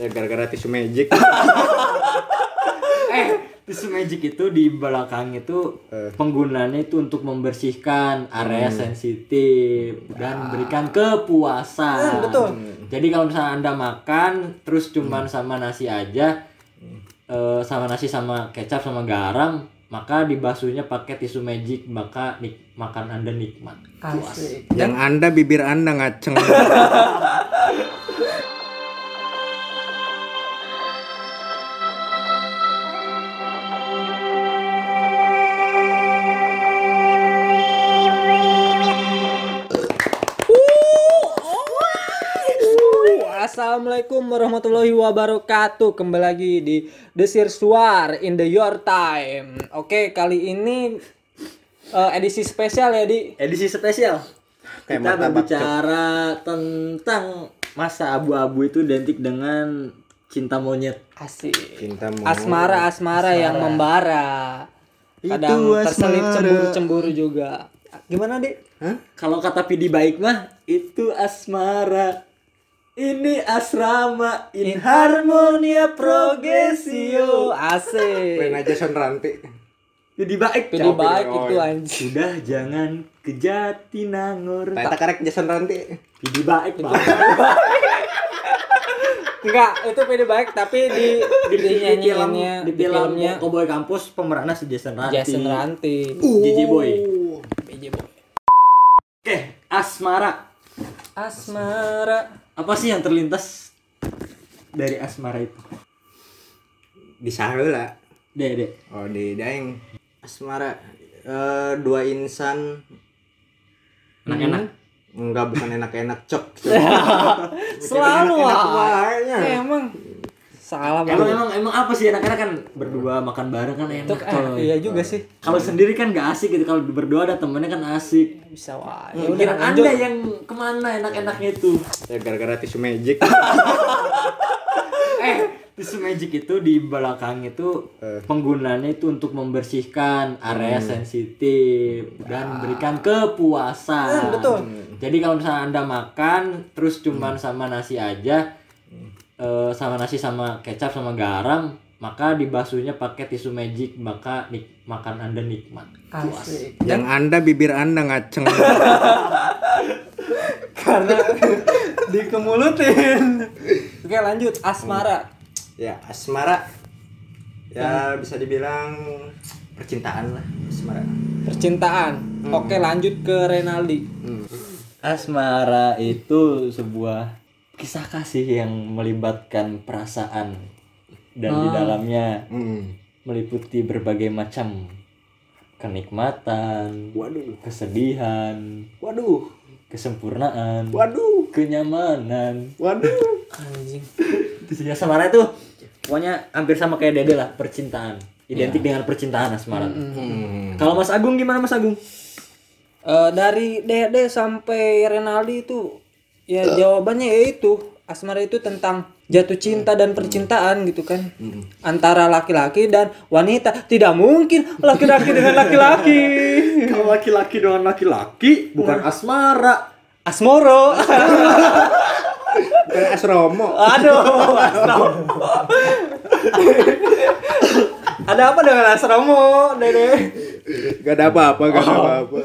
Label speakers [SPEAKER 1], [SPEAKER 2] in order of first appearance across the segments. [SPEAKER 1] Ya gara-gara tisu magic.
[SPEAKER 2] eh tisu magic itu di belakang itu
[SPEAKER 1] Eh.
[SPEAKER 2] penggunaannya itu untuk membersihkan area sensitif dan berikan kepuasan
[SPEAKER 3] Hmm, betul.
[SPEAKER 2] jadi kalau misalnya anda makan terus cuman sama nasi aja eh, sama nasi sama kecap sama garam maka dibasuhnya pakai tisu magic maka nik- makan anda nikmat
[SPEAKER 3] Asik.
[SPEAKER 1] Yang Anda bibir Anda ngaceng.
[SPEAKER 3] Assalamualaikum warahmatullahi wabarakatuh. Kembali lagi di Desir Suar in the Your Time. Oke, kali ini eh, edisi spesial ya di
[SPEAKER 2] edisi spesial
[SPEAKER 1] Kayak
[SPEAKER 2] kita
[SPEAKER 1] martabak,
[SPEAKER 2] berbicara tentang masa abu-abu itu identik dengan cinta monyet
[SPEAKER 3] asik.
[SPEAKER 1] Cinta mau.
[SPEAKER 3] Asmara asmara yang membara. Kadang
[SPEAKER 1] Itu
[SPEAKER 3] terselip
[SPEAKER 1] asmara.
[SPEAKER 3] cemburu-cemburu juga. Gimana, Di?
[SPEAKER 1] Hah?
[SPEAKER 2] kalau kata Pidi baik mah itu asmara ini asrama in harmonia
[SPEAKER 3] Progesio.
[SPEAKER 2] progresio
[SPEAKER 1] Main
[SPEAKER 3] Asik.
[SPEAKER 1] aja son ranti.
[SPEAKER 2] Pidi baik
[SPEAKER 3] Pede baik itu anjing.
[SPEAKER 2] sudah jangan ke Jatinangor
[SPEAKER 1] Tak karek Jason ranti.
[SPEAKER 2] Pidi baik Bang.
[SPEAKER 3] Enggak, itu pede baik tapi di di
[SPEAKER 2] di film
[SPEAKER 3] nyanyiinnya,
[SPEAKER 2] di filmnya Cowboy Kampus pemerannya si Jason Ranti
[SPEAKER 3] Jason Ranti. Uh.
[SPEAKER 2] JJ Boy
[SPEAKER 3] BJ Boy.
[SPEAKER 2] oke asmara
[SPEAKER 3] Asmara.
[SPEAKER 2] apa sih yang terlintas dari asmara itu
[SPEAKER 1] Di saheula.
[SPEAKER 2] dede
[SPEAKER 1] Oh, di daeng. Asmara eh, dua insan
[SPEAKER 3] Hmm.
[SPEAKER 2] enak-enak
[SPEAKER 1] enggak bukan enak-enak cok.
[SPEAKER 3] Selalu
[SPEAKER 1] Enak-enak
[SPEAKER 3] ah.
[SPEAKER 1] wahnya.
[SPEAKER 3] Emang salah
[SPEAKER 2] emang
[SPEAKER 3] banget.
[SPEAKER 2] emang emang apa sih enak-enak kan berdua makan bareng kan enak
[SPEAKER 3] Itu eh,
[SPEAKER 2] coy.
[SPEAKER 3] iya juga sih.
[SPEAKER 2] kalau sendiri kan gak asik gitu kalau berdua ada temennya kan asik
[SPEAKER 3] Bisa wah. Ya udah
[SPEAKER 2] pikiran
[SPEAKER 3] lanjut.
[SPEAKER 2] anda yang kemana enak-enaknya itu
[SPEAKER 1] Ya gara-gara tisu magic.
[SPEAKER 2] eh tisu magic itu di belakang itu
[SPEAKER 1] Eh.
[SPEAKER 2] penggunaannya itu untuk membersihkan area sensitif dan berikan kepuasan
[SPEAKER 3] Ah. Hmm, betul. Hmm.
[SPEAKER 2] jadi kalau misalnya anda makan terus cuman sama nasi aja eh, sama nasi sama kecap sama garam maka dibasuhnya pakai tisu magic maka nik- makan anda nikmat
[SPEAKER 3] Asik.
[SPEAKER 1] Yang Anda bibir Anda ngaceng.
[SPEAKER 3] Karena dikemulutin. Oke, lanjut Asmara.
[SPEAKER 1] ya, asmara. Ya bisa dibilang percintaan lah asmara.
[SPEAKER 3] Percintaan. Oke, lanjut ke Renaldi.
[SPEAKER 2] asmara itu sebuah kisah kasih yang melibatkan perasaan dan
[SPEAKER 1] Ah.
[SPEAKER 2] di dalamnya
[SPEAKER 1] Hmm.
[SPEAKER 2] meliputi berbagai macam kenikmatan,
[SPEAKER 1] Waduh.
[SPEAKER 2] kesedihan,
[SPEAKER 1] Waduh.
[SPEAKER 2] kesempurnaan,
[SPEAKER 1] Waduh.
[SPEAKER 2] kenyamanan.
[SPEAKER 1] Waduh.
[SPEAKER 3] Anjing.
[SPEAKER 2] Ya asmara itu pokoknya hampir sama kayak Dede lah, percintaan.
[SPEAKER 1] Iya.
[SPEAKER 2] Identik dengan percintaan asmara.
[SPEAKER 1] Hmm.
[SPEAKER 2] Kalau Mas Agung gimana Mas Agung?
[SPEAKER 3] Eh, dari Dede sampai Renaldi itu ya jawabannya ya itu asmara itu tentang jatuh cinta dan percintaan gitu kan antara laki-laki dan wanita tidak mungkin laki-laki dengan laki-laki
[SPEAKER 1] Kalau laki-laki dengan laki-laki
[SPEAKER 2] Nah.
[SPEAKER 1] bukan asmara,
[SPEAKER 3] asmoro
[SPEAKER 1] bukan asromo.
[SPEAKER 3] aduh asromo ada apa dengan asromo Dede
[SPEAKER 1] Gak ada apa-apa, gak ada apa-apa.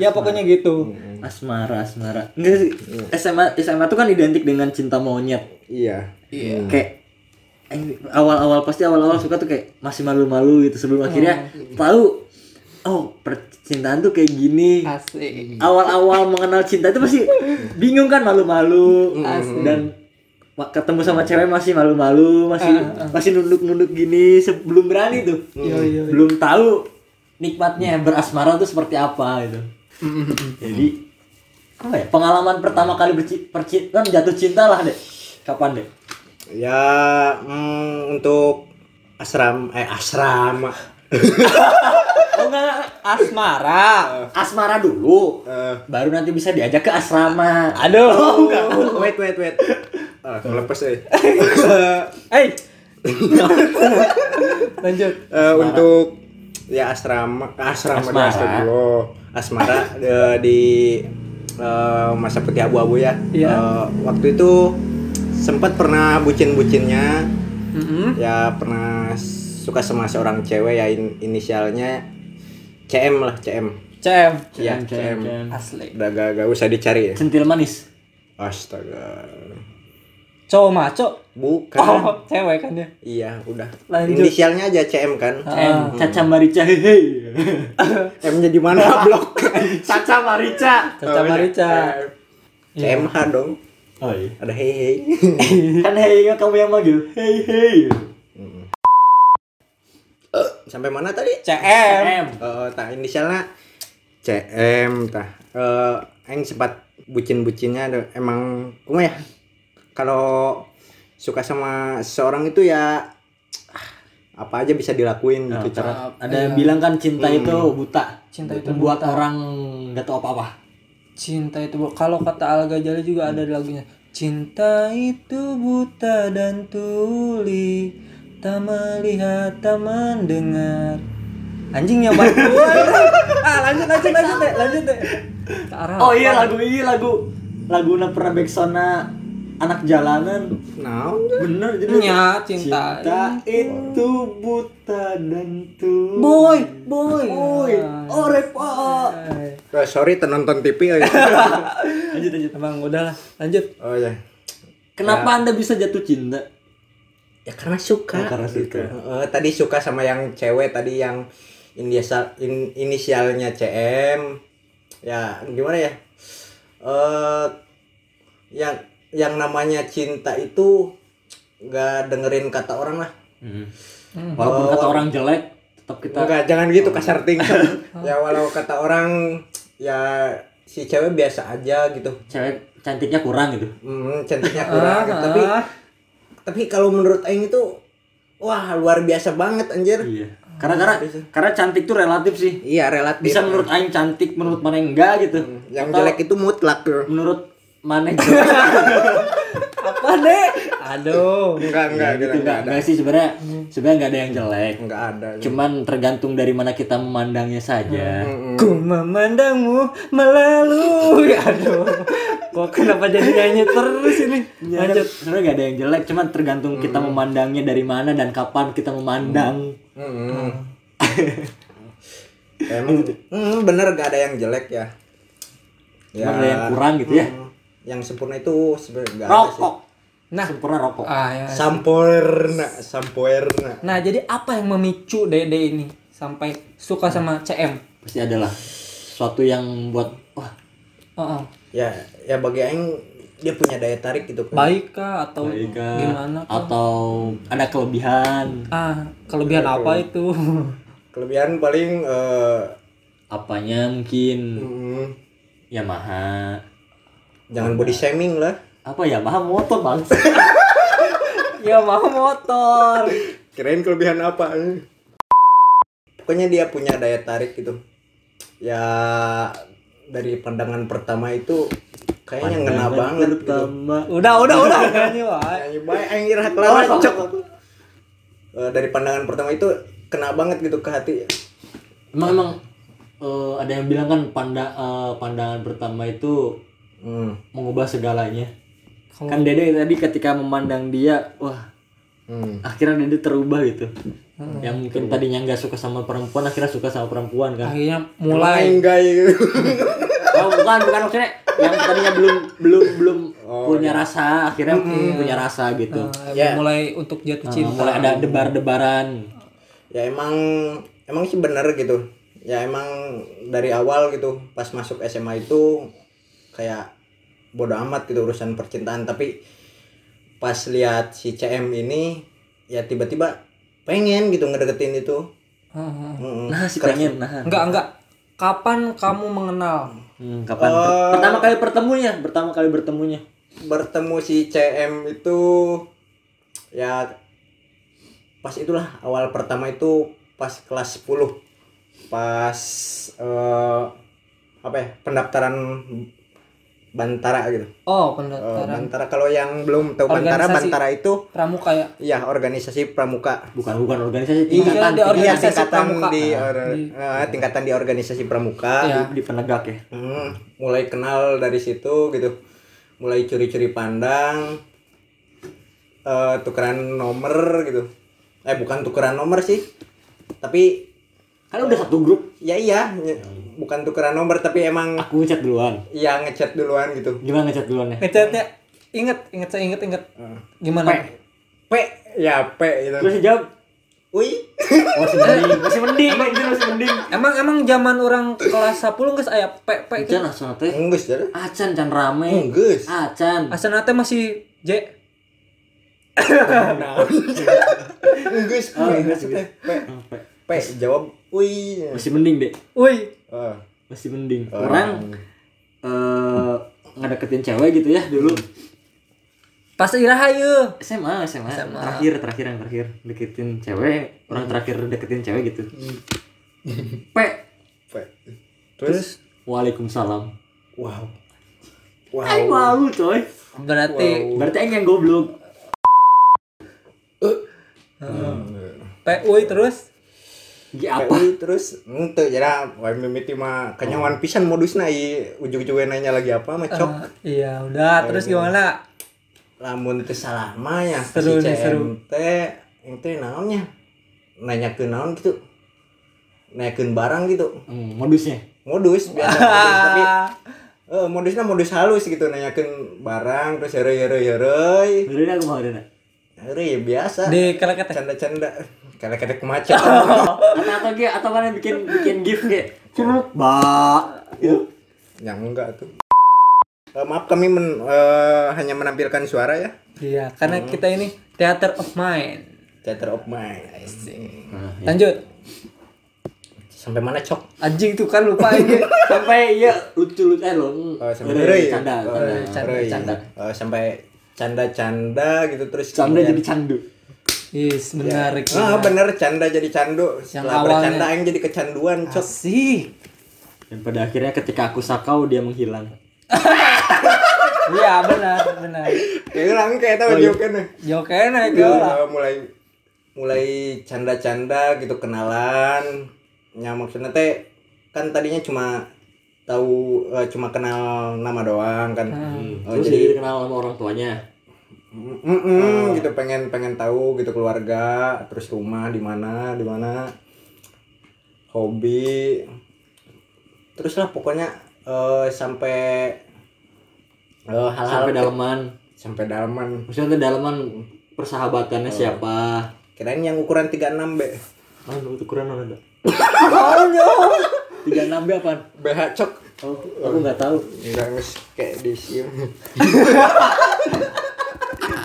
[SPEAKER 3] ya pokoknya gitu
[SPEAKER 2] Asmara, asmara. Enggak sih. SMA SMA tuh kan identik dengan cinta monyet.
[SPEAKER 1] Iya.
[SPEAKER 2] kayak eh, awal-awal pasti awal-awal suka tuh kayak masih malu-malu gitu sebelum akhirnya tahu oh percintaan tuh kayak
[SPEAKER 3] Ah,
[SPEAKER 2] gini
[SPEAKER 3] asik
[SPEAKER 2] Iya. awal-awal mengenal cinta itu pasti bingung kan malu-malu dan wa- ketemu sama cewek masih malu-malu masih masih nunduk-nunduk gini sebelum berani tuh belum tahu nikmatnya berasmara tuh seperti apa gitu jadi apa ya pengalaman pertama kali berci- perci- kan jatuh cinta lah deh kapan deh
[SPEAKER 1] Ya mm, untuk asram eh asrama.
[SPEAKER 3] oh enggak, enggak. asmara
[SPEAKER 2] asmara dulu
[SPEAKER 1] Eh.
[SPEAKER 2] baru nanti bisa diajak ke asrama
[SPEAKER 3] aduh
[SPEAKER 1] Oh, wait wait wait. Ah, lepas eh.
[SPEAKER 3] Hey. Lanjut.
[SPEAKER 1] Eh, untuk ya asrama asrama
[SPEAKER 2] Asmara.
[SPEAKER 1] asrama dulu asmara eh, di eh, masa putih abu-abu ya
[SPEAKER 3] Iya.
[SPEAKER 1] Eh, waktu itu sempat pernah bucin-bucinnya
[SPEAKER 2] Mm-hmm.
[SPEAKER 1] ya pernah suka sama seorang cewek ya in- inisialnya CM lah CM
[SPEAKER 3] CM
[SPEAKER 1] ya
[SPEAKER 2] Iya.
[SPEAKER 1] CM,
[SPEAKER 3] asli
[SPEAKER 1] udah gak, gak usah dicari ya
[SPEAKER 2] Centil manis.
[SPEAKER 1] astaga
[SPEAKER 3] cowok maco
[SPEAKER 1] bukan
[SPEAKER 3] oh cewek kan ya
[SPEAKER 1] iya udah
[SPEAKER 3] Lanjut.
[SPEAKER 1] inisialnya aja CM kan
[SPEAKER 2] M. Caca Marica hehe.
[SPEAKER 1] M nya di mana blok
[SPEAKER 2] Caca Marica.
[SPEAKER 3] Caca Marica
[SPEAKER 1] CMH Eh, dong
[SPEAKER 2] Oh iya.
[SPEAKER 1] ada hehe
[SPEAKER 2] Kan hei kamu yang manggil. Hei hei.
[SPEAKER 1] sampai mana tadi
[SPEAKER 3] CM
[SPEAKER 2] M.
[SPEAKER 1] Eh, tah inisialnya CM tah. Eh, aing sempat bucin-bucinnya ada- emang kumah ya. Kalau suka sama seorang itu ya ah, apa aja bisa dilakuin
[SPEAKER 3] Ya,
[SPEAKER 1] gitu cara.
[SPEAKER 2] Nah, Ada yang bilang kan cinta itu buta.
[SPEAKER 3] Cinta itu
[SPEAKER 2] membuat orang nggak tahu apa-apa.
[SPEAKER 3] cinta itu bu- kalau kata Al Ghazali juga ada di lagunya cinta itu buta dan tuli tak melihat tak mendengar anjing nyoba ah lanjut lanjut lanjut deh lanjut deh Ke arah
[SPEAKER 2] Oh iya lagu ini lagu lagu Napra Beksona anak jalanan.
[SPEAKER 1] Nah,
[SPEAKER 2] Bener jadi
[SPEAKER 3] Nya,
[SPEAKER 2] Iya,
[SPEAKER 3] cinta.
[SPEAKER 2] cinta itu buta dan tuh.
[SPEAKER 3] boy boy Ah, iya,
[SPEAKER 2] Oi, oh repa.
[SPEAKER 1] eh, sorry penonton TV. eh.
[SPEAKER 2] Lanjut lanjut. Ya.
[SPEAKER 3] Bang, udahlah lanjut
[SPEAKER 1] oh ya.
[SPEAKER 2] Kenapa Anda bisa jatuh cinta?
[SPEAKER 1] Ya karena suka.
[SPEAKER 2] Oh, karena
[SPEAKER 1] gitu.
[SPEAKER 2] suka.
[SPEAKER 1] Eh, tadi suka sama yang cewek tadi yang inisial in- inisialnya CM. Ya, gimana ya? Eh yang yang namanya cinta itu nggak dengerin kata orang lah.
[SPEAKER 2] Walaupun kata orang jelek, tetap kita
[SPEAKER 1] Enggak, jangan gitu kasar ting. ya walau kata orang ya si cewek biasa aja gitu.
[SPEAKER 2] cewek cantiknya kurang gitu.
[SPEAKER 1] Hmm, cantiknya kurang tapi tapi kalau menurut aing itu wah luar biasa banget anjir.
[SPEAKER 2] Iya. Karena karena karena cantik tuh relatif sih.
[SPEAKER 1] Iya Hmm. relatif.
[SPEAKER 2] Bisa menurut aing cantik, menurut mana enggak gitu.
[SPEAKER 1] yang jelek itu mutlak tuh.
[SPEAKER 2] Menurut mana jelek
[SPEAKER 3] apa deh aduh
[SPEAKER 1] Enggak Iya, enggak
[SPEAKER 2] gitu enggak. Enggak sih sebenarnya
[SPEAKER 1] Hmm.
[SPEAKER 2] sebenarnya enggak ada yang jelek.
[SPEAKER 1] Enggak ada.
[SPEAKER 2] Cuman tergantung dari mana kita memandangnya saja.
[SPEAKER 1] Hmm.
[SPEAKER 3] Ku memandangmu melalui Aduh Kok kenapa jadi nyanyi terus ini
[SPEAKER 2] Sebenarnya sebenarnya nggak ada yang jelek, cuman tergantung
[SPEAKER 1] Hmm.
[SPEAKER 2] kita memandangnya dari mana dan kapan kita memandang.
[SPEAKER 1] Hmm. Mm-mm. Emang Mm, bener gak ada yang jelek ya.
[SPEAKER 2] Cuman ada yang kurang gitu ya.
[SPEAKER 1] Mm, Yang sempurna itu sebenarnya enggak Ya. ada sih.
[SPEAKER 2] Rokok. Nah, sempurna rokok.
[SPEAKER 3] Ah, ya.
[SPEAKER 1] Sampurna, sampurna.
[SPEAKER 3] Nah jadi apa yang memicu Dede ini Sampai suka sama CM
[SPEAKER 2] Pasti adalah suatu yang buat wah,
[SPEAKER 3] Oh, oh.
[SPEAKER 1] Ya, ya bagi aing dia punya daya tarik gitu.
[SPEAKER 3] Baik kah atau
[SPEAKER 2] baik ah.
[SPEAKER 3] gimana kah?
[SPEAKER 2] atau ada kelebihan
[SPEAKER 3] Ah kelebihan apa itu
[SPEAKER 1] Kelebihan paling eh,
[SPEAKER 2] apanya mungkin
[SPEAKER 1] mm,
[SPEAKER 2] Yamaha.
[SPEAKER 1] jangan body shaming lah.
[SPEAKER 2] Apa Yamaha motor bangsa.
[SPEAKER 3] Ya mau motor
[SPEAKER 1] kirain kelebihan apa eh? pokoknya dia punya daya tarik gitu ya dari pandangan pertama itu kayaknya ngena banget gitu
[SPEAKER 2] Iya, Pertama.
[SPEAKER 3] Udah udah udah Nyanyi wae.
[SPEAKER 1] Nyanyi bae, anjir, hak lawan, cok. Oh, Eh, dari pandangan pertama itu kena banget gitu ke hati
[SPEAKER 2] Emang emang eh, ada yang bilang kan panda eh, pandangan pertama itu
[SPEAKER 1] hmm.
[SPEAKER 2] mengubah segalanya. Kan Dede tadi ketika memandang dia, wah,
[SPEAKER 1] Hmm.
[SPEAKER 2] akhirnya Dede terubah gitu. Yang mungkin tadinya nggak suka sama perempuan, akhirnya suka sama perempuan kan.
[SPEAKER 3] Akhirnya mulai
[SPEAKER 1] enggak gitu.
[SPEAKER 2] Oh, bukan, bukan maksudnya yang tadinya belum belum belum
[SPEAKER 1] Oh,
[SPEAKER 2] punya rasa, akhirnya punya rasa gitu.
[SPEAKER 1] Ya.
[SPEAKER 3] Mulai Ah, untuk jatuh
[SPEAKER 2] Nah,
[SPEAKER 3] cinta
[SPEAKER 2] mulai ada debar-debaran.
[SPEAKER 1] ya emang emang sih bener gitu ya emang dari awal gitu pas masuk SMA itu kayak bodo amat gitu urusan percintaan tapi pas lihat si CM ini ya tiba-tiba pengen gitu ngedeketin itu
[SPEAKER 3] Ah, ah.
[SPEAKER 1] Mm-mm.
[SPEAKER 2] Nah, si pengen nah.
[SPEAKER 3] Enggak enggak Kapan kamu mengenal
[SPEAKER 2] Hmm, kapan?
[SPEAKER 1] Oh.
[SPEAKER 2] per- pertama kali bertemunya, pertama kali bertemunya.
[SPEAKER 1] bertemu si CM itu ya pas itulah awal pertama itu pas kelas 10 pas eh, apa ya pendaftaran Bantara gitu
[SPEAKER 3] Oh
[SPEAKER 1] Eh,
[SPEAKER 3] pendaftaran
[SPEAKER 1] Bantara kalau yang belum tahu Bantara
[SPEAKER 3] Organisasi.
[SPEAKER 1] Bantara itu
[SPEAKER 3] Pramuka ya
[SPEAKER 1] ya organisasi pramuka
[SPEAKER 2] Bukan bukan organisasi
[SPEAKER 3] Iya,
[SPEAKER 2] tingkatan
[SPEAKER 3] dia
[SPEAKER 1] Iya,
[SPEAKER 3] organisasi
[SPEAKER 1] tingkatan
[SPEAKER 3] pramuka.
[SPEAKER 1] di, or- eh, tingkatan di organisasi pramuka gitu.
[SPEAKER 3] Iya.
[SPEAKER 2] di penegak ya.
[SPEAKER 1] Hmm, mulai kenal dari situ gitu mulai curi-curi pandang eh, tukeran nomor gitu eh bukan tukeran nomor sih tapi
[SPEAKER 2] Kan udah satu grup,
[SPEAKER 1] ya iya nye- bukan tukeran nomor tapi emang
[SPEAKER 2] aku ngechat duluan.
[SPEAKER 1] ya ngechat duluan gitu
[SPEAKER 2] Gimana ya? ngechat duluannya?
[SPEAKER 3] Ngechatnya inget, inget saya inget inget. Gimana?
[SPEAKER 1] P ya P gitu
[SPEAKER 2] Terus dia jawab,
[SPEAKER 1] Wih,
[SPEAKER 2] "Oh, masih mending, masih mending, anjir, masih mending."
[SPEAKER 3] Emang emang zaman orang kelas 10 geus aya pe pe
[SPEAKER 2] Acan asal teh.
[SPEAKER 1] enggak sih,
[SPEAKER 2] Acan can rame.
[SPEAKER 1] enggak sih.
[SPEAKER 2] Acan.
[SPEAKER 3] Asana teh masih J.
[SPEAKER 1] Enggak sih, Nah, P, enggak sih, P, P, P, jawab, wih,
[SPEAKER 2] Masih mending, Dek.
[SPEAKER 3] Woi,
[SPEAKER 1] Ah,
[SPEAKER 2] masih mending orang eh ngedeketin cewek gitu ya dulu
[SPEAKER 3] pas iraha ieu.
[SPEAKER 2] SMA, SMA terakhir terakhir yang terakhir deketin cewek orang terakhir deketin cewek gitu P
[SPEAKER 1] P. Terus,
[SPEAKER 2] Waalaikumsalam
[SPEAKER 1] wow,
[SPEAKER 2] Aing
[SPEAKER 1] wow,
[SPEAKER 2] malu coy
[SPEAKER 3] Berarti
[SPEAKER 2] berarti Aing yang goblok
[SPEAKER 3] pe woi terus
[SPEAKER 2] Gih
[SPEAKER 1] P,
[SPEAKER 2] apa
[SPEAKER 1] wih, terus ente jadi wae mimiti mah
[SPEAKER 3] Oh.
[SPEAKER 1] kenyawan pisan modusna i ujug-ujug nanya lagi apa mah cok
[SPEAKER 3] Iya, udah terus gimana?
[SPEAKER 1] lamun teu salah mah ya ke
[SPEAKER 3] Seru
[SPEAKER 1] si
[SPEAKER 3] nih,
[SPEAKER 1] CM
[SPEAKER 3] seru.
[SPEAKER 1] teh ente naonnya nanyakeun naon gitu nanyakeun barang gitu
[SPEAKER 2] Hmm, modusnya
[SPEAKER 1] modus biasa modus tapi
[SPEAKER 3] Ah.
[SPEAKER 1] eh, modusnya modus halus gitu nanyakeun barang terus ya hereu hereu hereu
[SPEAKER 2] Beneran aku mau ada
[SPEAKER 1] Hari ya biasa.
[SPEAKER 3] Di keleket teh.
[SPEAKER 1] Canda-canda. Karena kita kemacet.
[SPEAKER 2] atau atau gitu atau mana bikin bikin gift kayak curut ba gitu.
[SPEAKER 1] ya enggak tuh. Eh, maaf kami men- eh, hanya menampilkan suara ya.
[SPEAKER 3] Iya, karena kita ini theater of mind.
[SPEAKER 1] Theater of mind.
[SPEAKER 3] Lanjut.
[SPEAKER 1] Sampai mana cok?
[SPEAKER 3] Anjing tuh kan lupa ini.
[SPEAKER 2] sampai ya lucu lucu eh lo
[SPEAKER 1] Eh, sampai rei.
[SPEAKER 2] canda
[SPEAKER 1] Eh,
[SPEAKER 2] canda
[SPEAKER 1] rei.
[SPEAKER 2] canda
[SPEAKER 1] Eh, sampai canda-canda gitu terus.
[SPEAKER 2] canda
[SPEAKER 1] kemudian-
[SPEAKER 2] jadi gitu ya. candu
[SPEAKER 3] Yes, menarik.
[SPEAKER 1] Ah bener canda jadi candu. Setelah
[SPEAKER 3] awalnya-
[SPEAKER 1] bercanda yang jadi kecanduan cok.
[SPEAKER 2] Ah.
[SPEAKER 3] Asik.
[SPEAKER 2] Dan pada akhirnya ketika aku sakau dia menghilang.
[SPEAKER 3] Iya, benar, benar. Ya,
[SPEAKER 1] Kayak orang kayak tahu
[SPEAKER 2] Oh, iya.
[SPEAKER 1] jokan.
[SPEAKER 3] Jokain aja lah.
[SPEAKER 1] Iya, mulai mulai canda-canda gitu kenalan ya maksudnya teh kan tadinya cuma tahu eh, cuma kenal nama doang kan Eh,
[SPEAKER 2] Terus
[SPEAKER 1] jadi
[SPEAKER 2] jadi kenal sama orang tuanya.
[SPEAKER 1] mm, mm, mm, gitu pengen pengen tahu gitu keluarga terus rumah di mana di mana hobi terus lah pokoknya eh, sampai eh, hal-hal
[SPEAKER 2] Sampai dalaman.
[SPEAKER 1] sampai dalaman
[SPEAKER 2] Maksudnya tuh dalaman persahabatannya siapa?
[SPEAKER 1] kirain yang ukuran 36 be
[SPEAKER 2] Anu ukuran orang enggak? Oh, Tiga enam apaan?
[SPEAKER 1] BH cok
[SPEAKER 2] Oh, aku nggak tahu.
[SPEAKER 1] Enggak nges kayak di siang.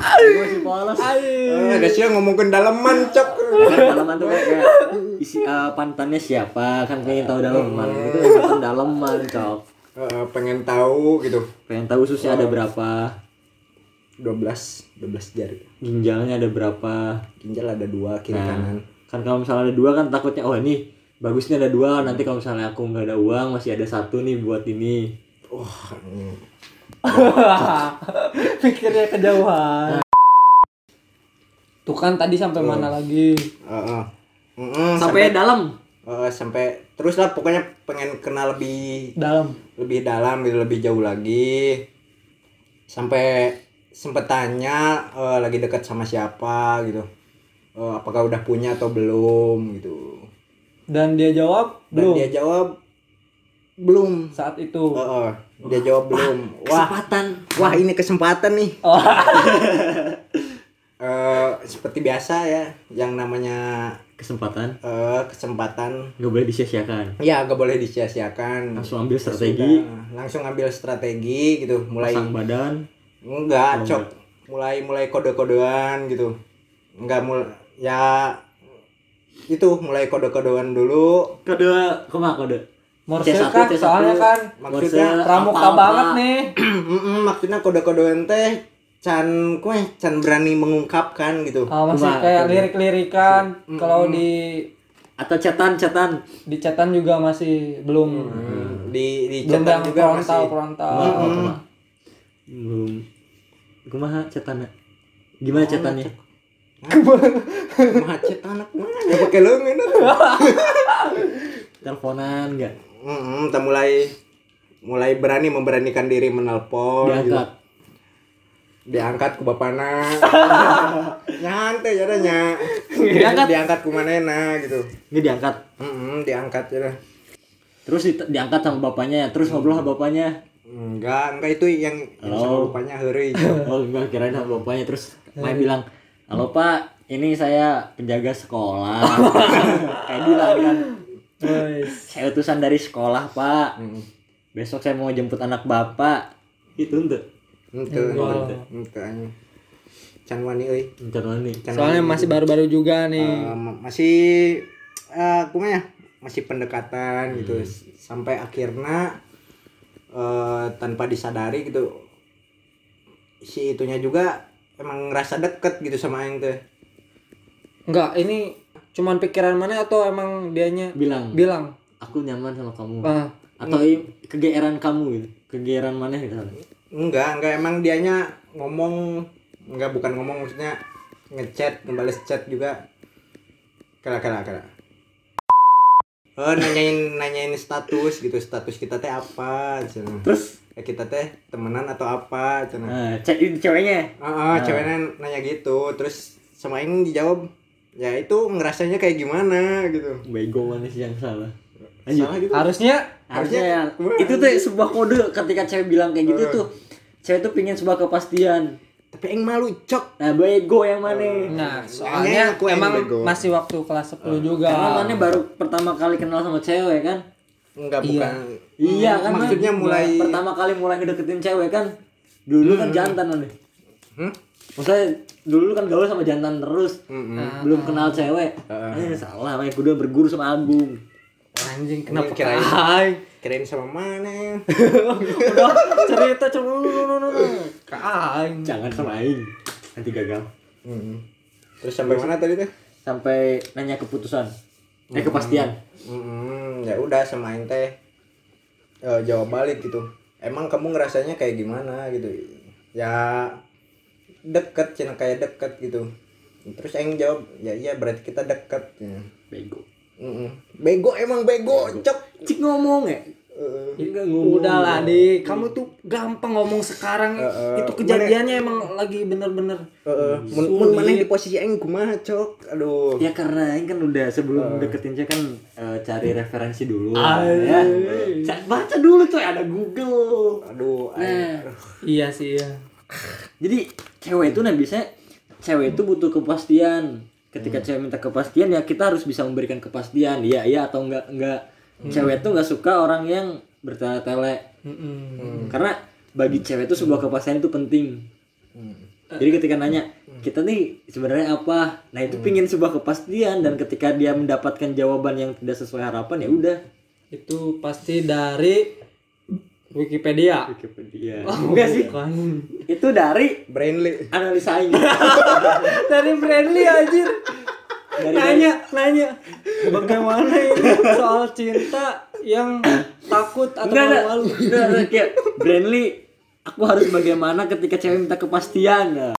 [SPEAKER 2] Aku masih malas.
[SPEAKER 1] Ah, ada siang ngomongin daleman cok.
[SPEAKER 2] Kan Dalaman tuh kayak, kayak isi eh, pantannya siapa? Kan pengen tahu dalaman. Itu yang bukan dalaman, cok.
[SPEAKER 1] Eh, pengen tahu gitu.
[SPEAKER 2] Pengen tahu ususnya ada berapa,
[SPEAKER 1] 12 12 jari.
[SPEAKER 2] ginjalnya ada berapa.
[SPEAKER 1] Ginjal ada dua kiri kanan.
[SPEAKER 2] kan kalau misalnya ada dua kan takutnya oh ini bagusnya ada dua nanti kalau misalnya aku nggak ada uang masih ada satu nih buat ini
[SPEAKER 1] Wah, ini Iya.
[SPEAKER 3] Pikirnya kejauhan. Tuh kan tadi sampai mana lagi?
[SPEAKER 1] Heeh. Mm-mm,
[SPEAKER 2] sampai, dalam
[SPEAKER 1] eh, sampai terus lah pokoknya pengen kenal lebih
[SPEAKER 3] Dalam.
[SPEAKER 1] lebih dalam gitu lebih jauh lagi sampai sempet tanya eh, lagi dekat sama siapa gitu Eh, apakah udah punya atau belum gitu
[SPEAKER 3] Dan dia jawab
[SPEAKER 1] dan
[SPEAKER 3] belum
[SPEAKER 1] dia Oh, jawab belum
[SPEAKER 3] saat itu.
[SPEAKER 1] Heeh, dia jawab belum. Wah,
[SPEAKER 2] kesempatan
[SPEAKER 1] wah ini kesempatan nih.
[SPEAKER 3] Oh,
[SPEAKER 1] Eh, seperti biasa ya, yang namanya
[SPEAKER 2] kesempatan
[SPEAKER 1] eh, kesempatan
[SPEAKER 2] nggak boleh disia-siakan
[SPEAKER 1] ya gak boleh disia-siakan.
[SPEAKER 2] langsung ambil strategi
[SPEAKER 1] Nah, langsung ambil strategi gitu, mulai
[SPEAKER 2] pasang badan
[SPEAKER 1] enggak cok, mulai mulai kode-kodean gitu. Enggak mul ya itu mulai kode-kodean dulu.
[SPEAKER 2] kode kemana kode
[SPEAKER 3] Morse
[SPEAKER 2] C1,
[SPEAKER 3] kah?
[SPEAKER 2] C1.
[SPEAKER 3] Soalnya kan
[SPEAKER 1] Maksudnya
[SPEAKER 2] Morse,
[SPEAKER 3] pramuka
[SPEAKER 2] apa-apa.
[SPEAKER 3] banget nih.
[SPEAKER 1] Mm-mm, maksudnya kode-kodean teh can kue can berani mengungkapkan gitu.
[SPEAKER 3] Ah, masih
[SPEAKER 2] Cuma-
[SPEAKER 3] kayak lirik-lirikan. Kalau di
[SPEAKER 2] atau cetan cetan
[SPEAKER 3] di chatan juga masih belum
[SPEAKER 1] Hmm, Di di
[SPEAKER 3] belum yang
[SPEAKER 1] chatan juga
[SPEAKER 3] frontal
[SPEAKER 1] masih
[SPEAKER 3] frontal.
[SPEAKER 2] belum kumaha cetana gimana cetannya
[SPEAKER 1] macet anak mana ya pakai lengan
[SPEAKER 2] teleponan nggak
[SPEAKER 1] Heeh, kita
[SPEAKER 2] Oh, iya.
[SPEAKER 1] mulai mulai berani memberanikan diri menelpon gitu.
[SPEAKER 2] diangkat
[SPEAKER 1] diangkat ku bapana nyantai ya nya diangkat diangkat ku manena gitu
[SPEAKER 2] Ini diangkat.
[SPEAKER 1] Mm-mm, diangkat ya dah.
[SPEAKER 2] Terus di- diangkat sama bapaknya, terus ngobrol sama bapaknya.
[SPEAKER 1] enggak enggak itu yang, yang sama
[SPEAKER 2] Oh.
[SPEAKER 1] rupanya hari
[SPEAKER 2] Oh, enggak kirain sama bapaknya terus Maya bilang, "Halo, Pak, ini saya penjaga sekolah." Kayak bilang kan. Saya utusan dari sekolah, Pak. Besok saya mau jemput anak Bapak. Itu untuk
[SPEAKER 1] ente ente ente anjing. can wani euy
[SPEAKER 2] rencana nih.
[SPEAKER 1] Can
[SPEAKER 3] Soalnya masih baru-baru juga nih.
[SPEAKER 1] Eh, ma- masih eh kumanya masih pendekatan gitu S- sampai akhirnya eh tanpa disadari gitu si itunya juga emang ngerasa deket gitu sama yang tuh
[SPEAKER 3] Enggak, ini cuman pikiran mana atau emang dianya
[SPEAKER 2] Bilang,
[SPEAKER 3] bilang?
[SPEAKER 2] "Aku nyaman sama kamu."
[SPEAKER 3] Ah,
[SPEAKER 2] Atau i- kegeeran kamu gitu. Kegeeran mana gitu.
[SPEAKER 1] enggak enggak emang dianya ngomong enggak bukan ngomong maksudnya ngechat ngebales chat juga kala kala kala oh nanyain nanyain status gitu status kita teh apa cina.
[SPEAKER 2] Terus
[SPEAKER 1] Eh, kita teh temenan atau apa cina.
[SPEAKER 2] eh, cek ceweknya.
[SPEAKER 1] Ah, ah, ceweknya nanya gitu, terus sama ini dijawab, ya itu ngerasanya kayak gimana gitu.
[SPEAKER 2] Bego manusia yang salah. Lanjut.
[SPEAKER 1] Salah gitu.
[SPEAKER 3] harusnya
[SPEAKER 2] harusnya ya, itu tuh sebuah kode ketika cewek bilang kayak gitu tuh cewek tuh pingin sebuah kepastian
[SPEAKER 1] Tapi yang malu cok.
[SPEAKER 2] nah bego yang mana
[SPEAKER 3] nah,
[SPEAKER 1] Kayaknya
[SPEAKER 3] soalnya
[SPEAKER 1] aku yang
[SPEAKER 3] emang
[SPEAKER 1] bego. Ah.
[SPEAKER 3] masih waktu kelas 10 juga.
[SPEAKER 2] karena mana baru pertama kali kenal sama cewek kan
[SPEAKER 1] Enggak bukan. Hmm,
[SPEAKER 2] iya kan Man?
[SPEAKER 1] maksudnya mulai
[SPEAKER 2] pertama kali mulai ngedeketin cewek kan dulu kan jantan mana
[SPEAKER 1] Hmm?
[SPEAKER 2] maksudnya dulu kan gaul sama jantan terus Ah.
[SPEAKER 1] Mm-mm.
[SPEAKER 2] belum kenal cewek ini salah makanya kudu berguru sama album
[SPEAKER 3] Anjing
[SPEAKER 1] Ini
[SPEAKER 3] kenapa
[SPEAKER 1] kirain.
[SPEAKER 3] Hai.
[SPEAKER 1] kirain sama mana?
[SPEAKER 3] Udah cerita cuma nu nu nu nu. Ka aing.
[SPEAKER 2] jangan sama aing nanti gagal
[SPEAKER 1] Mm-mm. Hmm. Terus sampai mana tadi tuh?
[SPEAKER 2] sampai nanya keputusan eh kepastian
[SPEAKER 1] Mm-mm, ya udah sama Aing teh eh, jawab balik gitu. Emang kamu ngerasanya kayak gimana gitu? Ya deket, cina kayak deket gitu. Terus Aing jawab, ya iya berarti kita deket. Ya.
[SPEAKER 2] bego
[SPEAKER 1] Mm-mm. Bego emang bego, cok.
[SPEAKER 2] cik ngomong ya
[SPEAKER 1] Heeh.
[SPEAKER 2] Ini nggak ngomong.
[SPEAKER 3] Udahlah deh, kamu tuh gampang ngomong sekarang.
[SPEAKER 1] Oh. Eh, eh,
[SPEAKER 3] itu kejadiannya emang lagi bener-bener
[SPEAKER 1] Heeh. Mun mun maneh di posisi aing kumaha, cok. Aduh.
[SPEAKER 2] Ya karena ini kan udah sebelum deketin cewek kan eh, cari referensi dulu ya. Ca- Baca dulu tuh ada Google.
[SPEAKER 1] Aduh, aing.
[SPEAKER 3] Iya sih iya.
[SPEAKER 2] Jadi cewek itu nah biasanya cewek itu butuh kepastian. Ketika cewek minta kepastian ya kita harus bisa memberikan kepastian. Iya iya atau enggak enggak. Cewek itu nggak suka orang yang bertele-tele.
[SPEAKER 3] Mm-mm.
[SPEAKER 2] Karena bagi cewek itu sebuah kepastian itu penting. Jadi ketika nanya kita nih sebenarnya apa, nah itu pingin sebuah kepastian dan ketika dia mendapatkan jawaban yang tidak sesuai harapan ya udah.
[SPEAKER 3] Itu pasti dari Wikipedia. Oh,
[SPEAKER 2] Wikipedia. Oh, Enggak sih.
[SPEAKER 3] Bukan.
[SPEAKER 2] Itu dari
[SPEAKER 1] Brainly.
[SPEAKER 2] analisa ini.
[SPEAKER 3] dari friendly anjir nanya nanya bagaimana ini soal cinta yang takut atau
[SPEAKER 2] Enggak ada.
[SPEAKER 3] malu-malu
[SPEAKER 2] Enggak ada kayak Brandly aku harus bagaimana ketika cewek minta kepastian. Nah,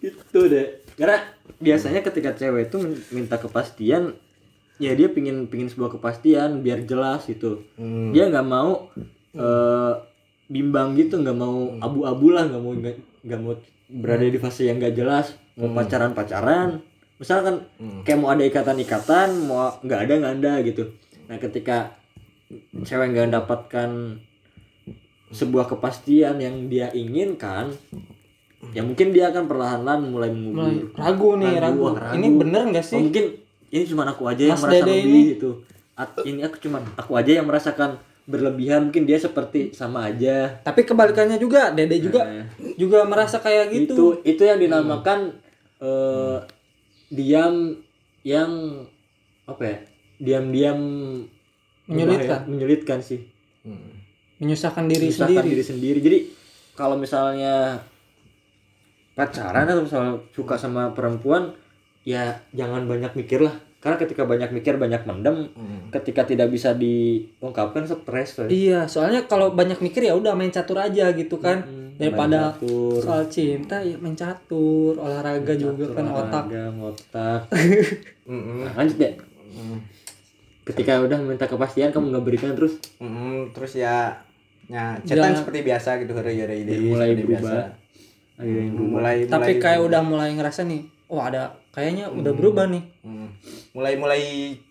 [SPEAKER 2] Itu Gitu deh. Karena biasanya ketika cewek itu minta kepastian ya dia pingin pingin sebuah kepastian biar jelas gitu. Dia nggak mau eh, bimbang gitu, nggak mau abu-abu lah, nggak mau nggak nggak mau berada di fase yang nggak jelas, mau pacaran-pacaran. Misalkan kayak mau ada ikatan-ikatan, mau nggak ada nggak ada gitu. Nah ketika cewek nggak mendapatkan sebuah kepastian yang dia inginkan, ya mungkin dia akan perlahan-lahan mulai mengubur
[SPEAKER 3] ragu nih ragu,
[SPEAKER 2] wah, ragu.
[SPEAKER 3] ini bener nggak
[SPEAKER 2] Oh,
[SPEAKER 3] sih
[SPEAKER 2] mungkin ini cuma aku aja yang
[SPEAKER 3] Mas
[SPEAKER 2] merasa
[SPEAKER 3] Dede
[SPEAKER 2] lebih
[SPEAKER 3] ini.
[SPEAKER 2] gitu. At- ini aku cuma aku aja yang merasakan berlebihan mungkin dia seperti sama aja.
[SPEAKER 3] tapi kebalikannya juga dede juga juga merasa kayak
[SPEAKER 2] Iya, Itu
[SPEAKER 3] gitu
[SPEAKER 2] itu, yang dinamakan eh, diam yang apa ya? Diam-diam
[SPEAKER 3] Menyulitkan.
[SPEAKER 2] bahaya- menyulitkan sih.
[SPEAKER 1] Hmm.
[SPEAKER 3] menyusahkan diri
[SPEAKER 2] Menyusahkan
[SPEAKER 3] sendiri
[SPEAKER 2] diri sendiri. Jadi kalau misalnya pacaran atau misalnya suka sama perempuan ya jangan banyak mikir lah karena ketika banyak mikir banyak mendem
[SPEAKER 1] Hmm.
[SPEAKER 2] ketika tidak bisa diungkapkan stres coy.
[SPEAKER 3] iya soalnya kalau banyak mikir ya udah main catur aja gitu kan daripada
[SPEAKER 2] Main catur.
[SPEAKER 3] soal cinta ya main catur olahraga juga kan otak
[SPEAKER 2] Olahraga, otak
[SPEAKER 1] Mm-mm.
[SPEAKER 2] Nah, lanjut deh
[SPEAKER 1] Hmm.
[SPEAKER 2] ketika udah minta kepastian kamu nggak berikan terus
[SPEAKER 1] Hmm. Mm-mm. Terus ya ya chatan seperti biasa gitu hari hari
[SPEAKER 2] mulai berubah Ada yang
[SPEAKER 3] Hmm.
[SPEAKER 2] berubah.
[SPEAKER 1] mulai
[SPEAKER 3] Tapi kayak udah mulai ngerasa nih, oh ada kayaknya udah berubah nih.
[SPEAKER 1] Mm. mulai mulai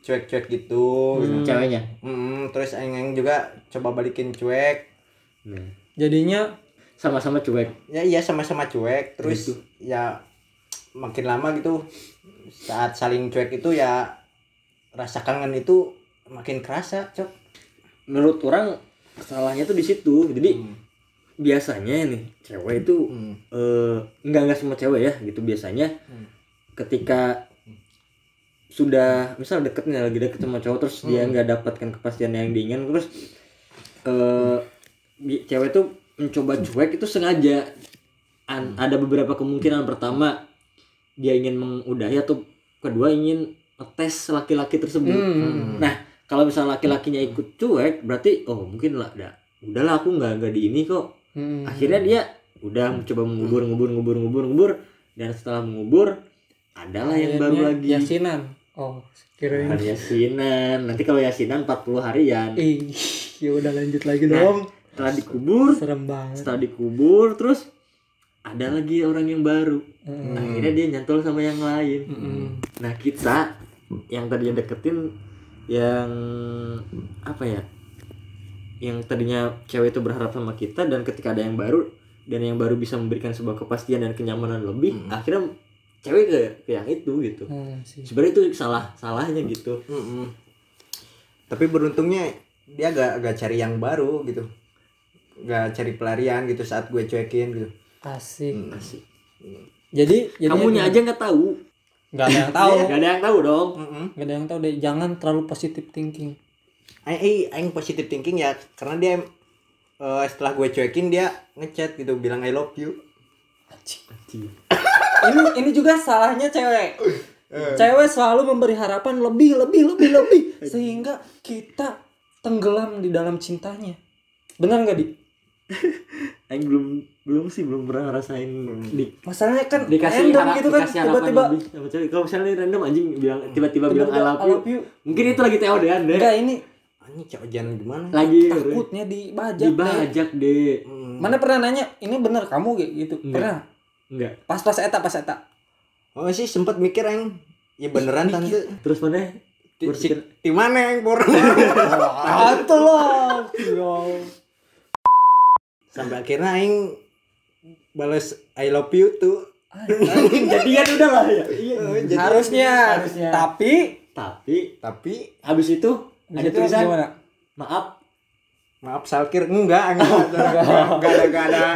[SPEAKER 1] cuek-cuek gitu
[SPEAKER 2] Ceweknya.
[SPEAKER 3] Hmm.
[SPEAKER 1] Mm, terus Aing-Aing juga coba balikin cuek
[SPEAKER 2] Nah,
[SPEAKER 3] Jadinya
[SPEAKER 2] sama-sama cuek.
[SPEAKER 1] ya iya sama-sama cuek terus ya makin lama gitu saat saling cuek itu ya rasa kangen itu makin kerasa cok
[SPEAKER 2] Menurut orang kesalahannya tuh di situ. Jadi biasanya nih cewek itu
[SPEAKER 1] Hmm.
[SPEAKER 2] eh enggak enggak semua cewek ya gitu biasanya ketika sudah misal deketnya lagi deket sama cowok terus dia nggak dapatkan kepastian yang diingin terus eh bi- cewek tuh mencoba cuek itu sengaja An- ada beberapa kemungkinan pertama dia ingin mengudahi atau kedua ingin ngetes laki-laki tersebut nah kalau misal laki-lakinya ikut cuek berarti oh mungkin lah dah udahlah aku nggak nggak di ini kok
[SPEAKER 3] Hmm.
[SPEAKER 2] akhirnya dia udah coba mengubur ngubur ngubur ngubur ngubur dan setelah mengubur adalah yang baru
[SPEAKER 3] akhirnya
[SPEAKER 2] lagi
[SPEAKER 3] Yasinan. Oh, kirain.
[SPEAKER 2] Hari yasinan nanti kalau yasinan 40 harian
[SPEAKER 3] Ih, ya udah lanjut lagi
[SPEAKER 2] Nah,
[SPEAKER 3] dong.
[SPEAKER 2] setelah dikubur
[SPEAKER 3] Serem banget.
[SPEAKER 2] setelah dikubur terus ada lagi orang yang baru
[SPEAKER 3] Hmm.
[SPEAKER 2] akhirnya dia nyantol sama yang lain
[SPEAKER 3] Mm-mm.
[SPEAKER 2] nah kita yang tadinya deketin yang apa ya yang tadinya cewek itu berharap sama kita dan ketika ada yang baru dan yang baru bisa memberikan sebuah kepastian dan kenyamanan lebih akhirnya cewek ke, ke yang itu gitu
[SPEAKER 3] Hmm, sih.
[SPEAKER 2] sebenarnya itu salah salahnya gitu
[SPEAKER 1] Mm-mm. Tapi beruntungnya dia gak, gak cari yang baru gitu. Gak cari pelarian gitu saat gue cuekin gitu.
[SPEAKER 3] Asik.
[SPEAKER 2] Asik.
[SPEAKER 3] Jadi, jadi
[SPEAKER 2] kamunya Hmm. aja nggak tahu Iya,
[SPEAKER 3] nggak ada yang tahu.
[SPEAKER 2] nggak ada yang tahu dong
[SPEAKER 1] Mm-mm.
[SPEAKER 3] Gak ada yang tahu deh. Jangan terlalu positive thinking.
[SPEAKER 1] Aing- Aing aing positive thinking ya karena dia eh, setelah gue cuekin dia ngechat gitu bilang I love you.
[SPEAKER 3] ini ini juga salahnya cewek.
[SPEAKER 2] Eh.
[SPEAKER 3] Cewek selalu memberi harapan lebih, lebih, lebih, lebih sehingga kita tenggelam di dalam cintanya. Benar nggak di?
[SPEAKER 2] Aing belum belum sih belum pernah ngerasain di
[SPEAKER 3] Masalahnya kan
[SPEAKER 2] dikasih
[SPEAKER 3] random
[SPEAKER 2] hara-
[SPEAKER 3] gitu kan
[SPEAKER 2] dikasih harapan
[SPEAKER 3] tiba-tiba
[SPEAKER 2] lebih sama cewek. kalau misalnya random anjing bilang tiba-tiba bilang I
[SPEAKER 3] tiba-tiba,
[SPEAKER 2] love you mungkin itu lagi TO deh Anda.
[SPEAKER 3] Enggak ini
[SPEAKER 1] Anjing cowok jangan gimana.
[SPEAKER 2] lagi
[SPEAKER 3] takutnya dibajak. Deh.
[SPEAKER 2] dibajak deh
[SPEAKER 1] Mm.
[SPEAKER 3] Mana pernah nanya, ini bener kamu Ge?" gitu.
[SPEAKER 2] Hmm.
[SPEAKER 3] Pernah.
[SPEAKER 2] enggak
[SPEAKER 3] Pas pas eta pas eta.
[SPEAKER 1] Oh sih sempet mikir aing ya beneran tante.
[SPEAKER 2] terus mana
[SPEAKER 1] Di- Si,
[SPEAKER 2] berpikir
[SPEAKER 1] di mana yang bor?
[SPEAKER 2] Ah.
[SPEAKER 3] Atuh loh. Yo.
[SPEAKER 1] Sampai akhirnya aing bales I love you tuh.
[SPEAKER 2] jadian udah lah ya iya
[SPEAKER 1] Eh, jadi-
[SPEAKER 3] Harusnya,
[SPEAKER 2] Harusnya.
[SPEAKER 3] tapi
[SPEAKER 2] tapi
[SPEAKER 1] tapi
[SPEAKER 2] habis itu ada
[SPEAKER 3] Habis itu
[SPEAKER 2] tulisan
[SPEAKER 3] gimana?
[SPEAKER 2] maaf
[SPEAKER 1] Maaf Salkir enggak, enggak enggak ada enggak ada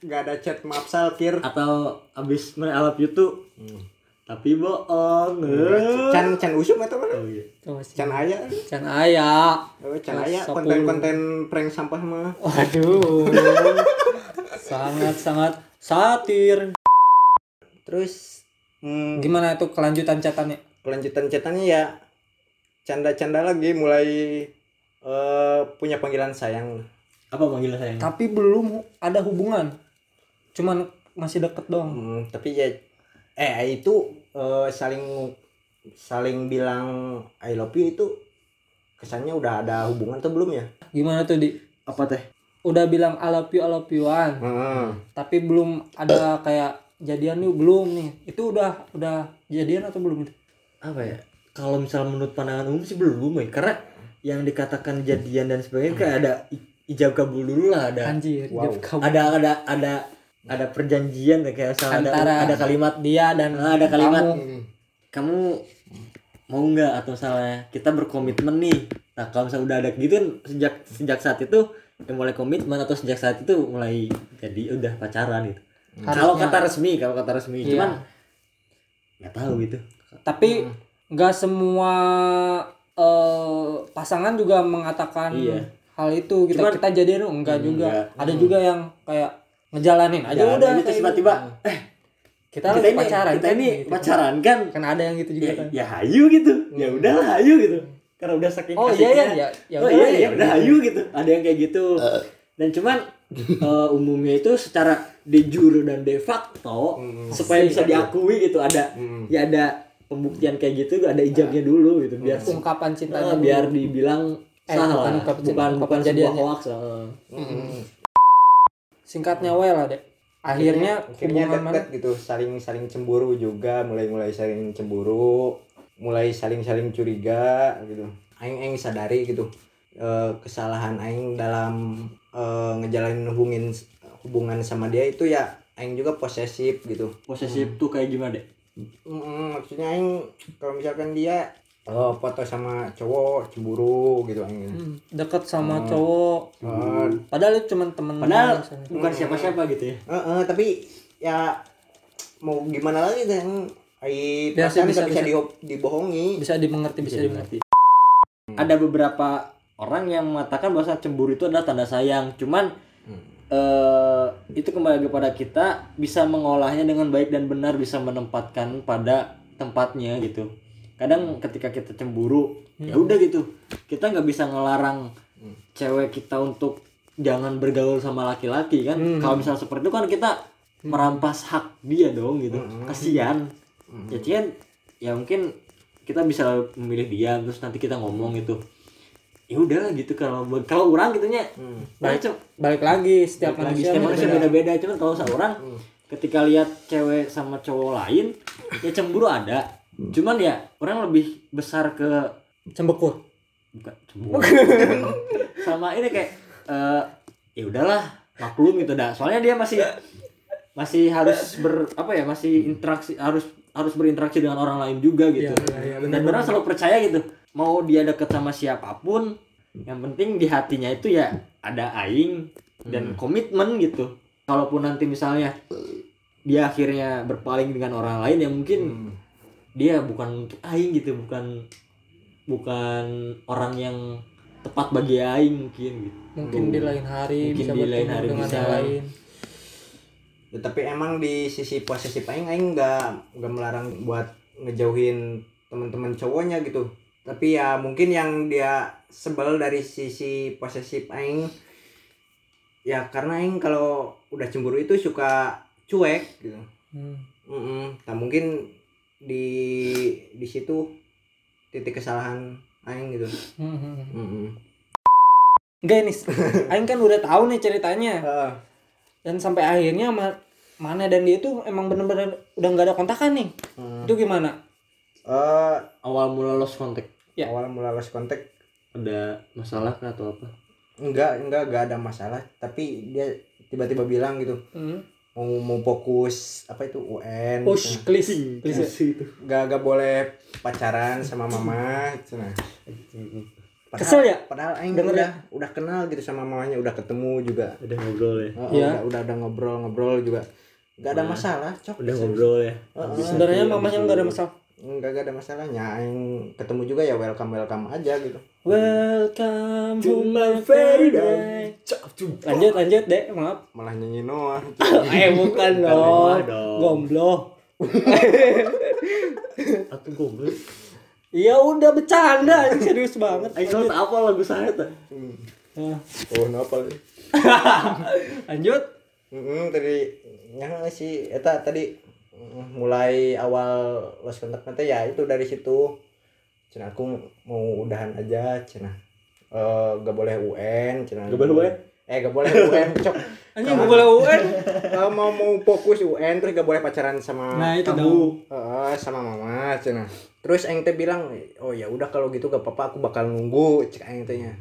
[SPEAKER 1] enggak ada chat maaf Salkir.
[SPEAKER 2] atau habis mana I love you tuh tapi bohong Eh.
[SPEAKER 1] Can can usum atau mana?
[SPEAKER 2] Iya. Oh, iya.
[SPEAKER 3] Tuh, si-
[SPEAKER 1] Can aya.
[SPEAKER 3] Can aya.
[SPEAKER 1] Oh, can aya
[SPEAKER 3] Sepuluh.
[SPEAKER 1] konten-konten prank sampah mah.
[SPEAKER 3] Waduh. Sangat-sangat satir.
[SPEAKER 1] Terus hmm,
[SPEAKER 3] Gimana itu kelanjutan catatannya?
[SPEAKER 1] kelanjutan chatannya ya canda-canda lagi mulai eh, punya panggilan sayang.
[SPEAKER 2] apa panggilan sayang
[SPEAKER 3] Tapi belum hu- ada hubungan. Cuman masih deket doang.
[SPEAKER 1] Hmm, tapi ya eh itu eh, saling saling bilang I love you itu kesannya udah ada hubungan atau belum ya?
[SPEAKER 3] Gimana tuh di?
[SPEAKER 2] apa teh
[SPEAKER 3] Udah bilang I love you, I love you-an.
[SPEAKER 1] Heeh.
[SPEAKER 3] Tapi belum ada kayak jadian nih belum nih. Itu udah udah jadian atau belum itu?
[SPEAKER 2] apa ya kalau misal menurut pandangan umum sih belum ya karena yang dikatakan jadian dan sebagainya kayak ada i- ijab kabul dulu lah ada
[SPEAKER 3] Anjir,
[SPEAKER 1] Wow.
[SPEAKER 3] jawab kamu.
[SPEAKER 2] ada ada ada ada perjanjian ya, kayak misal ada
[SPEAKER 3] Antara-
[SPEAKER 2] ada kalimat
[SPEAKER 3] dia dan
[SPEAKER 2] ah, ada kalimat
[SPEAKER 3] kamu.
[SPEAKER 1] Hmm.
[SPEAKER 2] kamu, mau nggak atau misalnya kita berkomitmen nih nah kalau misal udah ada gitu kan sejak sejak saat itu ya mulai komitmen atau sejak saat itu mulai jadi udah pacaran gitu kalau
[SPEAKER 3] Harusnya.
[SPEAKER 2] kata resmi kalau kata resmi
[SPEAKER 3] Iya.
[SPEAKER 2] cuman nggak tahu gitu
[SPEAKER 3] Tapi nggak semua eh, pasangan juga mengatakan
[SPEAKER 2] Iya.
[SPEAKER 3] hal itu gitu.
[SPEAKER 2] Cuman- Hmm,
[SPEAKER 3] kita jadian oh, enggak juga.
[SPEAKER 2] Enggak.
[SPEAKER 3] Ada juga yang kayak ngejalanin aja
[SPEAKER 2] Jalanin
[SPEAKER 3] udah
[SPEAKER 2] aja
[SPEAKER 3] kayak
[SPEAKER 2] tiba-tiba,
[SPEAKER 3] gitu.
[SPEAKER 2] eh,
[SPEAKER 3] kita, lagi pacaran
[SPEAKER 2] kita
[SPEAKER 3] kan,
[SPEAKER 2] ini
[SPEAKER 3] gitu.
[SPEAKER 2] pacaran kan
[SPEAKER 3] kan ada yang gitu juga
[SPEAKER 2] ya,
[SPEAKER 3] kan.
[SPEAKER 2] ya hayu gitu ya udahlah hayu gitu karena udah saking
[SPEAKER 3] Oh,
[SPEAKER 2] asiknya.
[SPEAKER 3] iya, iya, ya- ya
[SPEAKER 2] oh iya
[SPEAKER 3] udahlah,
[SPEAKER 2] ya
[SPEAKER 3] ya
[SPEAKER 2] udah hayu gitu ada yang kayak gitu dan cuman eh, umumnya itu secara de jure dan de facto supaya
[SPEAKER 3] Asik.
[SPEAKER 2] bisa diakui gitu ada
[SPEAKER 1] Hmm.
[SPEAKER 2] ya ada pembuktian kayak gitu ada ijabnya dulu gitu biar
[SPEAKER 3] Ungkapan cinta
[SPEAKER 2] eh, biar dibilang
[SPEAKER 3] Eh,
[SPEAKER 2] salah
[SPEAKER 3] bukan
[SPEAKER 2] bukan
[SPEAKER 3] ungkap-
[SPEAKER 2] bukan,
[SPEAKER 3] ungkapan
[SPEAKER 2] sebuah
[SPEAKER 1] Hmm.
[SPEAKER 3] jadiannya.
[SPEAKER 2] hoax eh.
[SPEAKER 1] Mm-mm.
[SPEAKER 3] singkatnya well lah deh. akhirnya
[SPEAKER 1] akhirnya
[SPEAKER 3] hubungan mana
[SPEAKER 1] deket gitu saling saling cemburu juga mulai mulai saling cemburu mulai saling saling curiga gitu aing aing sadari gitu eh, kesalahan aing dalam eh, ngejalanin hubungin hubungan sama dia itu ya aing juga posesif gitu
[SPEAKER 2] posesif
[SPEAKER 3] Hmm.
[SPEAKER 2] tuh kayak gimana deh
[SPEAKER 1] Mm, maksudnya aing kalau misalkan dia eh, foto sama cowok cemburu gitu aing
[SPEAKER 3] Hmm, deket sama cowok
[SPEAKER 1] Eh,
[SPEAKER 3] padahal itu cuma temen
[SPEAKER 2] padahal
[SPEAKER 3] doang Iya, misalnya.
[SPEAKER 2] bukan siapa-siapa gitu ya
[SPEAKER 1] Eh, eh, tapi ya mau gimana lagi kan Ai,
[SPEAKER 3] Biasa,
[SPEAKER 1] perasaan
[SPEAKER 3] bisa,
[SPEAKER 1] nggak bisa,
[SPEAKER 3] bisa.
[SPEAKER 1] di- dibohongi
[SPEAKER 3] bisa dimengerti bisa
[SPEAKER 2] Jadi
[SPEAKER 3] dimengerti
[SPEAKER 2] ngerti. Ada beberapa orang yang mengatakan bahwa cemburu itu adalah tanda sayang. Cuman
[SPEAKER 1] Mm.
[SPEAKER 2] eh, itu kembali kepada kita bisa mengolahnya dengan baik dan benar, bisa menempatkan pada tempatnya gitu. Kadang ketika kita cemburu, ya udah gitu. Kita nggak bisa ngelarang cewek kita untuk jangan bergaul sama laki-laki kan. Kalau misalnya seperti itu kan kita merampas hak dia dong gitu. Kasihan. Jadi kan ya mungkin kita bisa memilih dia terus nanti kita ngomong gitu ya udahlah gitu kalau kalau orang gitunya
[SPEAKER 1] Hmm.
[SPEAKER 2] nah, cu-
[SPEAKER 3] balik lagi setiap
[SPEAKER 2] balik lagi,
[SPEAKER 3] manusia kan Hmm.
[SPEAKER 2] setiap manusia
[SPEAKER 3] beda.
[SPEAKER 2] beda-beda cuman kalau seorang ketika lihat cewek sama cowok lain ya cemburu ada
[SPEAKER 3] Hmm.
[SPEAKER 2] cuman ya orang lebih besar ke
[SPEAKER 3] cembekur
[SPEAKER 2] bukan cemburu sama ini kayak eh, ya udahlah maklum gitu dah soalnya dia masih masih harus ber apa ya masih interaksi harus harus berinteraksi dengan orang lain juga gitu
[SPEAKER 3] Iya, iya,
[SPEAKER 2] dan orang selalu percaya gitu mau dia deket sama siapapun yang penting di hatinya itu ya ada aing dan
[SPEAKER 3] Hmm.
[SPEAKER 2] komitmen gitu kalaupun nanti misalnya dia akhirnya berpaling dengan orang lain ya mungkin
[SPEAKER 1] Hmm.
[SPEAKER 2] dia bukan untuk aing gitu bukan bukan orang yang tepat bagi aing mungkin gitu
[SPEAKER 3] mungkin di lain hari
[SPEAKER 2] Mungkin
[SPEAKER 3] bisa
[SPEAKER 2] di lain
[SPEAKER 3] bertemu
[SPEAKER 2] hari
[SPEAKER 3] dengan
[SPEAKER 2] bisa.
[SPEAKER 3] yang lain
[SPEAKER 1] Ya, tapi emang di sisi posisi aing aing nggak nggak melarang buat ngejauhin teman-teman cowoknya gitu tapi ya mungkin yang dia sebel dari sisi posesif aing ya karena aing kalau udah cemburu itu suka cuek gitu
[SPEAKER 3] Hmm.
[SPEAKER 1] Mm-mm. nah mungkin di di situ titik kesalahan aing gitu
[SPEAKER 3] Hmm, hmm, hmm.
[SPEAKER 1] Mm-mm.
[SPEAKER 3] Enggak nih, Aing kan udah tahu nih ceritanya
[SPEAKER 1] Eh,
[SPEAKER 3] dan sampai akhirnya sama mana dan dia tuh emang bener-bener udah nggak ada kontakan nih.
[SPEAKER 1] Hmm.
[SPEAKER 3] Itu gimana?
[SPEAKER 1] eh,
[SPEAKER 2] awal mula lost kontak
[SPEAKER 3] Ya.
[SPEAKER 1] awal mula lost contact
[SPEAKER 2] ada masalah kah atau apa
[SPEAKER 1] enggak enggak enggak ada masalah tapi dia tiba-tiba bilang gitu
[SPEAKER 3] Hmm.
[SPEAKER 1] mau mau fokus apa itu UN
[SPEAKER 3] Push,
[SPEAKER 1] gitu.
[SPEAKER 3] please, please.
[SPEAKER 2] itu
[SPEAKER 1] nggak nggak boleh pacaran sama mama gitu nah Padahal-
[SPEAKER 3] Kesel ya?
[SPEAKER 1] padahal aing
[SPEAKER 3] Denger
[SPEAKER 1] udah udah kenal gitu sama mamanya udah ketemu juga
[SPEAKER 2] udah ngobrol ya
[SPEAKER 1] Oh,
[SPEAKER 3] Iya.
[SPEAKER 1] udah, udah udah ngobrol-ngobrol juga nggak ada masalah cok
[SPEAKER 2] udah ngobrol ya Habis
[SPEAKER 3] Sebenarnya
[SPEAKER 2] nanti-
[SPEAKER 3] mamanya nggak ada masalah.
[SPEAKER 1] nggak nggak ada masalahnya aing ketemu juga ya welcome welcome aja gitu
[SPEAKER 3] Welcome to my paradise. Lanjut, lanjut deh. Maaf.
[SPEAKER 1] malah nyanyi Noah Gitu.
[SPEAKER 3] eh bukan
[SPEAKER 2] Noah dong.
[SPEAKER 3] dong. Gomblo.
[SPEAKER 2] aku goblok
[SPEAKER 3] Ya udah bercanda, anjing. serius banget.
[SPEAKER 2] ayo soal Eh, tak apa lagu saya tuh
[SPEAKER 3] Nah,
[SPEAKER 1] oh kenapa lu?
[SPEAKER 3] lanjut.
[SPEAKER 1] Mm, tadi yang sih eta tadi mm, mulai awal lost kontak nanti ya itu dari situ cina aku mau udahan aja cina eh gak boleh UN cina
[SPEAKER 2] Gak boleh UN?
[SPEAKER 1] eh gak boleh UN cok
[SPEAKER 3] Anjing gue boleh UN.
[SPEAKER 1] kalau mau mau fokus UN terus gak boleh pacaran sama
[SPEAKER 3] Nah, itu
[SPEAKER 1] kamu.
[SPEAKER 3] dong.
[SPEAKER 1] Heeh, sama mama cina terus aing teh bilang oh ya udah kalau gitu gak apa-apa aku bakal nunggu cek aing tehnya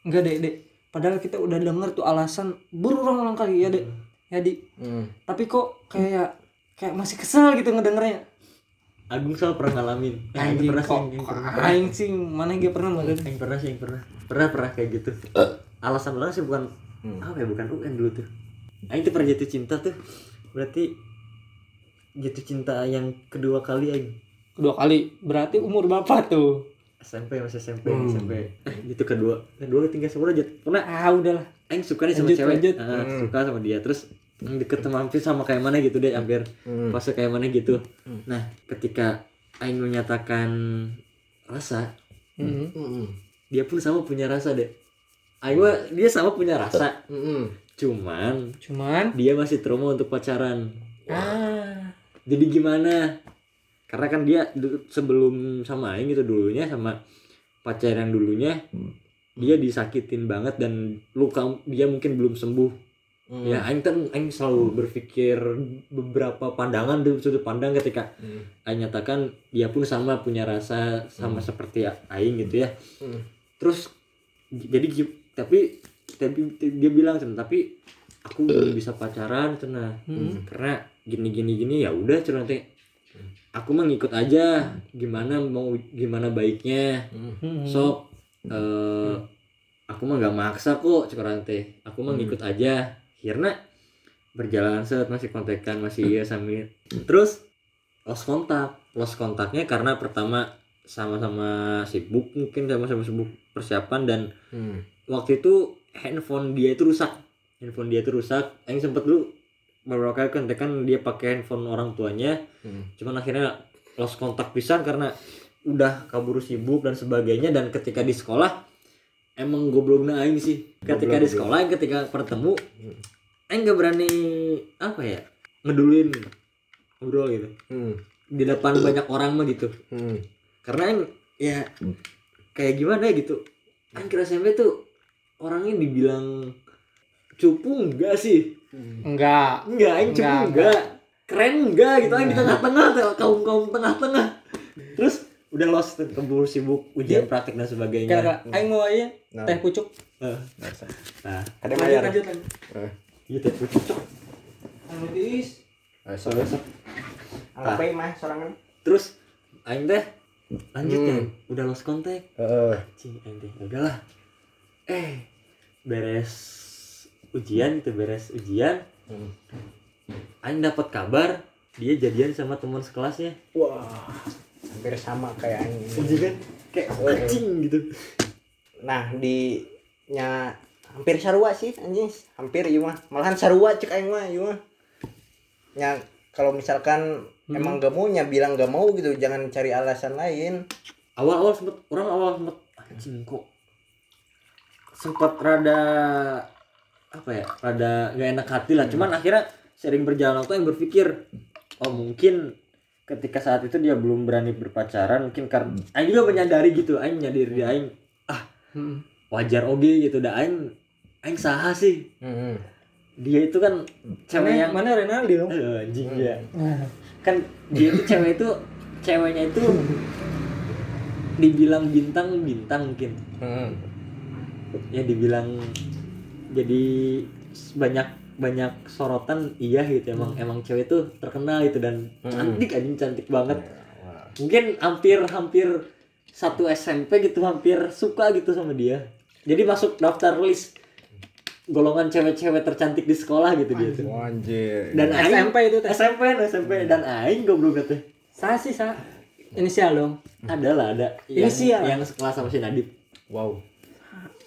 [SPEAKER 3] Enggak, Dek, Dek. Padahal kita udah denger tuh alasan berulang-ulang kali ya, Dek. Ya, Di.
[SPEAKER 1] Hmm.
[SPEAKER 3] Tapi kok kayak kayak masih kesel gitu ngedengernya.
[SPEAKER 2] Agung soal pernah ngalamin Aing
[SPEAKER 3] Anjing
[SPEAKER 2] pernah sih
[SPEAKER 3] kok
[SPEAKER 2] yang pernah
[SPEAKER 3] aing sih mana dia pernah mau
[SPEAKER 2] Aing pernah sih yang pernah pernah pernah kayak gitu alasan orang sih bukan
[SPEAKER 1] Hmm.
[SPEAKER 2] apa ya bukan UN dulu tuh Aing tuh pernah jatuh cinta tuh berarti jatuh cinta yang kedua kali Aing
[SPEAKER 3] kedua kali. Berarti umur Bapak tuh.
[SPEAKER 2] SMP masih SMP
[SPEAKER 3] Hmm.
[SPEAKER 2] SMP eh gitu kedua kedua ketiga semua jatuh pernah
[SPEAKER 3] Ah, udahlah.
[SPEAKER 2] Aing suka nih sama
[SPEAKER 3] Lanjut,
[SPEAKER 2] cewek
[SPEAKER 3] lanjut. Hmm.
[SPEAKER 2] Ah, suka sama dia terus Aing deket sama hampir sama kayak mana gitu deh hampir
[SPEAKER 1] Hmm.
[SPEAKER 2] fase kayak mana gitu nah ketika Aing menyatakan rasa
[SPEAKER 3] Heeh.
[SPEAKER 1] Mm-mm.
[SPEAKER 2] dia pun sama punya rasa deh Aing mah dia sama punya rasa
[SPEAKER 1] Mm-mm.
[SPEAKER 2] cuman
[SPEAKER 3] Cuman
[SPEAKER 2] dia masih trauma untuk pacaran
[SPEAKER 3] ah
[SPEAKER 2] jadi gimana karena kan dia du- sebelum sama Aing gitu dulunya sama pacar yang dulunya dia disakitin banget dan luka dia mungkin belum sembuh
[SPEAKER 1] Hmm.
[SPEAKER 2] Ya, aing kan aing selalu berpikir beberapa pandangan dari sudut pandang ketika
[SPEAKER 1] Hmm.
[SPEAKER 2] aing Nah, nyatakan dia pun sama punya rasa sama seperti ya- aing gitu ya. Terus jadi gi- tapi tapi dia bilang "Cen, tapi aku belum bisa pacaran cina
[SPEAKER 1] Hmm.
[SPEAKER 3] Hmm.
[SPEAKER 2] karena gini gini gini ya udah cina teh aku mah ngikut aja gimana mau gimana baiknya
[SPEAKER 1] Hmm.
[SPEAKER 3] Hmm.
[SPEAKER 2] so eh aku mah nggak maksa kok sekarang teh aku mah ngikut aja karena berjalan set masih kontekan masih iya sambil terus lost kontak lost kontaknya karena pertama sama-sama sibuk mungkin sama-sama sibuk persiapan dan
[SPEAKER 1] Hmm,
[SPEAKER 2] waktu itu handphone dia itu rusak handphone dia itu rusak Aing sempet dulu beberapa kali kontekan dia pakai handphone orang tuanya cuman akhirnya lost kontak pisan karena udah kabur sibuk dan sebagainya dan ketika di sekolah emang gobloknya aing sih ketika di sekolah aing ketika bertemu aing gak berani apa ya ngeduluin ngobrol gitu
[SPEAKER 1] hmm,
[SPEAKER 2] di depan banyak orang mah gitu karena aing ya kayak gimana ya gitu aing kira SMP tuh orangnya dibilang cupu enggak sih
[SPEAKER 4] Enggak.
[SPEAKER 2] enggak aing cupu
[SPEAKER 4] Enggak,
[SPEAKER 2] enggak, keren enggak gitu aing di tengah-tengah kaum kaum tengah-tengah terus udah lost keburu sibuk ujian praktek dan sebagainya
[SPEAKER 3] Kira aing mau aja teh pucuk.
[SPEAKER 2] Eh, nah
[SPEAKER 1] Ada
[SPEAKER 3] Lanjut
[SPEAKER 1] bayar.
[SPEAKER 3] lanjut lanjut.
[SPEAKER 1] Eh,
[SPEAKER 2] gitu cocok
[SPEAKER 3] Anu tiis.
[SPEAKER 1] eh, sorry. Ah. Anggap aja mah kan? sorangan.
[SPEAKER 2] terus aing teh lanjut ya udah lost kontak
[SPEAKER 1] Heeh.
[SPEAKER 2] Cing, ente udahlah. Eh, beres ujian itu beres ujian.
[SPEAKER 1] Hmm.
[SPEAKER 2] Aing dapat kabar dia jadian sama teman sekelasnya.
[SPEAKER 1] Wah, hampir sama kayak ini.
[SPEAKER 2] Anjing kan kayak anjing gitu.
[SPEAKER 1] Nah, di nya hampir sarua sih anjing, hampir ieu mah. Malahan sarua cek aing mah ieu mah. Nya kalau misalkan emang gak mau nya bilang gak mau gitu, jangan cari alasan lain.
[SPEAKER 2] Awal-awal sempet orang awal sempet anjing kok sempet rada apa ya rada gak enak hati lah cuman akhirnya sering berjalan waktu yang berpikir oh mungkin ketika saat itu dia belum berani berpacaran mungkin karena Aing juga menyadari gitu Aing menyadari dia Aing ah
[SPEAKER 3] Hmm.
[SPEAKER 2] wajar oke gitu dah Aing Aing saha sih
[SPEAKER 1] Heeh.
[SPEAKER 2] dia itu kan cewek yang
[SPEAKER 3] Mana Renaldi dong?
[SPEAKER 2] Eh, anjing
[SPEAKER 1] hmm. Iya.
[SPEAKER 2] ya kan dia itu cewek itu ceweknya itu dibilang bintang bintang mungkin
[SPEAKER 1] Heeh.
[SPEAKER 2] ya dibilang jadi banyak banyak sorotan iya gitu emang emang cewek itu terkenal gitu dan cantik anjing cantik
[SPEAKER 1] Iya,
[SPEAKER 2] banget mungkin hampir hampir satu SMP gitu hampir suka gitu sama dia jadi masuk daftar list golongan cewek-cewek tercantik di sekolah gitu dia
[SPEAKER 1] iya.
[SPEAKER 2] tuh
[SPEAKER 1] Anjir.
[SPEAKER 2] dan aing
[SPEAKER 3] SMP itu teh.
[SPEAKER 2] SMP nah, SMP dan aing goblok teh
[SPEAKER 3] Sa sih sa. Inisial dong.
[SPEAKER 2] ada lah ada
[SPEAKER 3] Ini
[SPEAKER 2] yang,
[SPEAKER 3] sih ya.
[SPEAKER 2] yang sekelas sama si Nadib
[SPEAKER 1] Wow.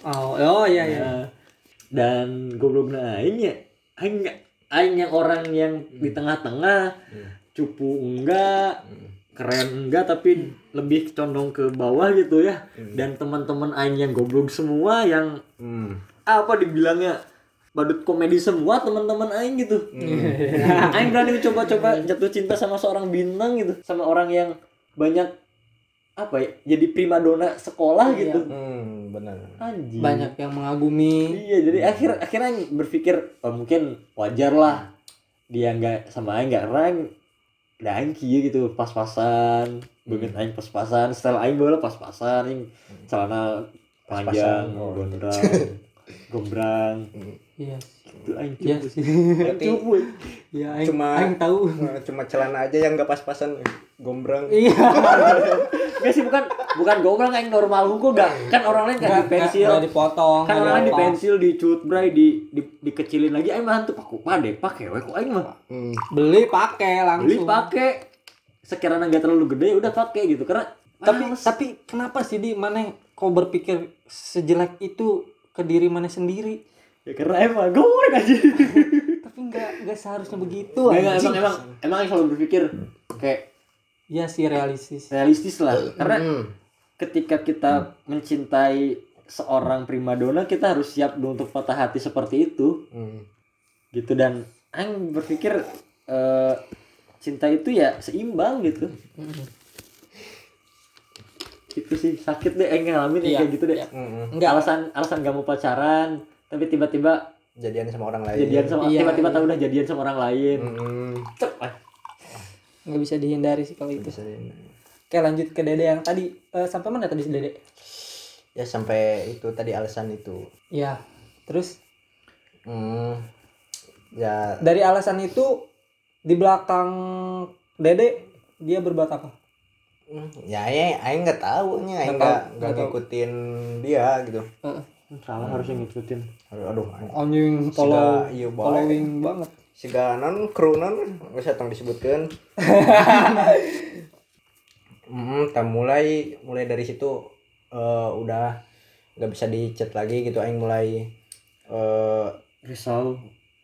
[SPEAKER 3] Oh, oh iya iya.
[SPEAKER 2] Ya. dan gobloknya aing ya aing nggak- aing yang orang yang di tengah-tengah cupu enggak keren enggak tapi lebih condong ke bawah gitu ya dan teman-teman aing yang goblok semua yang
[SPEAKER 1] Hmm.
[SPEAKER 2] apa dibilangnya badut komedi semua teman-teman aing gitu.
[SPEAKER 1] Hmm,
[SPEAKER 2] aing berani coba-coba jatuh cinta sama seorang bintang gitu, sama orang yang banyak apa ya, jadi primadona sekolah gitu.
[SPEAKER 1] Hmm, benar.
[SPEAKER 2] Anjing.
[SPEAKER 3] Banyak yang mengagumi.
[SPEAKER 2] Iya, jadi akhir akhirnya aing berpikir oh, mungkin wajar lah dia nggak sama aing nggak rang dan aing kieu gitu pas-pasan banget aing pas-pasan style aing bola pas-pasan aing celana panjang
[SPEAKER 1] Pas-pasan, oh.
[SPEAKER 2] gondrong gombrang
[SPEAKER 3] Iya.
[SPEAKER 2] itu aing
[SPEAKER 3] Iya
[SPEAKER 2] cupu
[SPEAKER 3] sih.
[SPEAKER 2] aing cupu
[SPEAKER 3] Iya, aing
[SPEAKER 1] Cuma-
[SPEAKER 3] aing tahu.
[SPEAKER 1] Cuma celana aja yang gak pas-pasan. Gombrang.
[SPEAKER 3] Iya.
[SPEAKER 2] Nggak sih bukan bukan gombrang aing normal hukum gak kan orang lain kan
[SPEAKER 3] Enggak
[SPEAKER 2] di pensil
[SPEAKER 3] dipotong.
[SPEAKER 2] kan orang lain di
[SPEAKER 3] apa.
[SPEAKER 2] pensil di cutbray di, di dikecilin lagi aing mah tuh paku pade pakai we kok aing mah
[SPEAKER 1] Hmm.
[SPEAKER 3] Beli pakai langsung.
[SPEAKER 2] beli pakai sekiranya nggak terlalu gede udah pakai gitu karena
[SPEAKER 3] tapi
[SPEAKER 2] Males.
[SPEAKER 3] tapi kenapa sih di mana kau berpikir sejelek itu ke diri mana sendiri
[SPEAKER 2] ya karena emang goreng aja
[SPEAKER 3] tapi nggak nggak seharusnya begitu
[SPEAKER 2] Nggak, nggak,
[SPEAKER 3] anjing.
[SPEAKER 2] emang emang emang yang selalu berpikir kayak
[SPEAKER 3] ya sih realistis
[SPEAKER 2] realistis lah karena
[SPEAKER 1] Hmm.
[SPEAKER 2] ketika kita mencintai seorang primadona kita harus siap dong untuk patah hati seperti itu
[SPEAKER 1] Hmm.
[SPEAKER 2] gitu dan Aing berpikir eh, cinta itu ya seimbang gitu itu sih sakit deh Aing ngalamin yang
[SPEAKER 3] Iya,
[SPEAKER 2] kayak gitu deh
[SPEAKER 1] Hmm.
[SPEAKER 2] alasan alasan gak mau pacaran tapi tiba-tiba
[SPEAKER 1] jadian sama orang lain Hmm.
[SPEAKER 2] jadian sama
[SPEAKER 3] Iya.
[SPEAKER 2] tiba-tiba tahu udah jadian sama orang lain
[SPEAKER 1] Mm-mm.
[SPEAKER 2] Cep, ah.
[SPEAKER 3] nggak bisa dihindari sih kalau itu
[SPEAKER 1] Bisa di-
[SPEAKER 3] oke lanjut ke dede yang tadi Eh, sampai mana tadi si dede
[SPEAKER 1] ya sampai itu tadi alasan itu
[SPEAKER 3] ya terus
[SPEAKER 1] Hmm, ya
[SPEAKER 3] dari alasan itu di belakang dede dia berbuat apa
[SPEAKER 1] hmm, ya aing aing nggak tahu nya aing nggak nggak ngikutin dia gitu
[SPEAKER 2] salah harus ngikutin
[SPEAKER 1] aduh aduh aing-
[SPEAKER 3] anjing
[SPEAKER 1] follow- iya, baik. following
[SPEAKER 3] banget
[SPEAKER 1] si ganon krunan nggak usah tong disebutkan hmm tak mulai mulai dari situ eh, udah nggak bisa dicat lagi gitu aing mulai eh
[SPEAKER 2] risau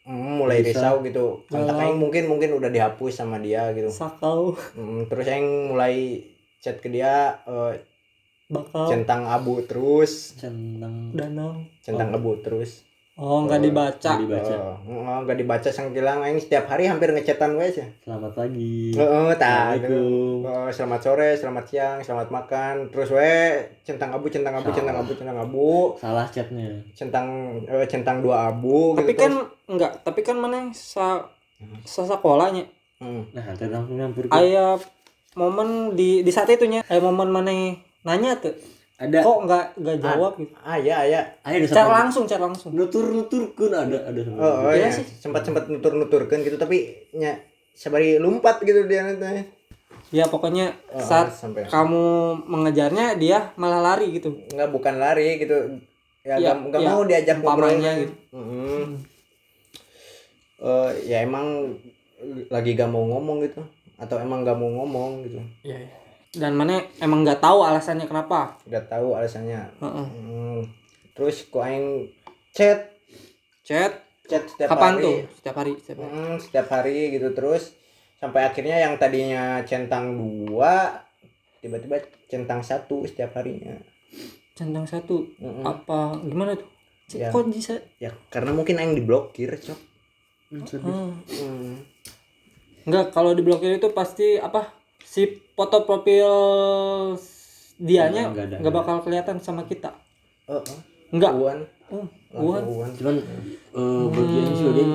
[SPEAKER 1] mm, mulai risau gitu kontak
[SPEAKER 2] Oh.
[SPEAKER 1] aing mungkin mungkin udah dihapus sama dia gitu
[SPEAKER 3] sakau
[SPEAKER 1] Mm, terus aing mulai chat ke dia eh,
[SPEAKER 3] bakal
[SPEAKER 1] centang abu terus
[SPEAKER 2] centang
[SPEAKER 3] danau
[SPEAKER 1] centang abu terus
[SPEAKER 3] oh nggak dibaca
[SPEAKER 2] Nggak dibaca.
[SPEAKER 1] Eh, eh, nggak dibaca sangkilang aing setiap hari hampir ngechatan wes ya
[SPEAKER 2] selamat pagi
[SPEAKER 1] Heeh, tah,
[SPEAKER 2] Iya. Assalamualaikum.
[SPEAKER 1] Eh, selamat sore, selamat siang, selamat makan. Terus we centang abu, centang abu, centang abu, centang abu,
[SPEAKER 2] salah chatnya
[SPEAKER 1] centang eh, centang dua abu
[SPEAKER 3] tapi
[SPEAKER 1] gitu.
[SPEAKER 3] kan enggak tapi kan mana yang sa sasakolanya
[SPEAKER 1] terus. Hmm.
[SPEAKER 2] nah kita langsung nyampur ke-
[SPEAKER 3] aya momen di di saat itunya aya momen mana yang nanya tuh
[SPEAKER 2] ada
[SPEAKER 3] kok nggak nggak jawab gitu
[SPEAKER 1] Ah ya ya.
[SPEAKER 2] ada ada
[SPEAKER 3] cara
[SPEAKER 2] satu
[SPEAKER 3] langsung cara langsung
[SPEAKER 2] nutur nuturkan ada ada satu
[SPEAKER 1] Oh, oh, ya.
[SPEAKER 3] Iya sih.
[SPEAKER 1] Sempat sempat nutur nuturkan gitu tapi nya sabari lompat gitu dia nanti.
[SPEAKER 3] ya pokoknya
[SPEAKER 1] Oh,
[SPEAKER 3] saat
[SPEAKER 1] sampai
[SPEAKER 3] kamu mengejarnya dia malah lari gitu
[SPEAKER 1] nggak bukan lari gitu. Ya,
[SPEAKER 3] Iya,
[SPEAKER 1] nggak nggak
[SPEAKER 3] iya.
[SPEAKER 1] mau diajak
[SPEAKER 3] Umpamanya
[SPEAKER 1] ngobrolnya.
[SPEAKER 3] gitu.
[SPEAKER 1] Mm-mm. Eh, ya emang lagi gak mau ngomong gitu atau emang gak mau ngomong gitu
[SPEAKER 3] Iya, dan mana emang nggak tahu alasannya kenapa
[SPEAKER 1] nggak tahu alasannya
[SPEAKER 3] Heeh.
[SPEAKER 1] Hmm. Terus ku aing chat,
[SPEAKER 3] chat
[SPEAKER 1] chat setiap
[SPEAKER 3] kapan
[SPEAKER 1] hari.
[SPEAKER 3] tuh setiap hari setiap hari
[SPEAKER 1] Hmm, setiap hari gitu terus sampai akhirnya yang tadinya centang dua tiba-tiba centang satu setiap harinya.
[SPEAKER 3] centang satu
[SPEAKER 1] Mm-mm.
[SPEAKER 3] apa gimana tuh C-
[SPEAKER 1] Ya.
[SPEAKER 3] kok bisa
[SPEAKER 1] Ya karena mungkin aing diblokir, Cok.
[SPEAKER 3] Hmm.
[SPEAKER 1] Hmm.
[SPEAKER 3] Enggak, kalau diblokir itu pasti apa si foto profil dianya
[SPEAKER 2] Enggak ada.
[SPEAKER 3] nggak bakal kelihatan sama kita.
[SPEAKER 1] Oh, oh.
[SPEAKER 3] Enggak.
[SPEAKER 1] Uan.
[SPEAKER 3] Oh,
[SPEAKER 1] Langsung
[SPEAKER 3] what?
[SPEAKER 1] Uan.
[SPEAKER 2] cuman eh, bagian si Odin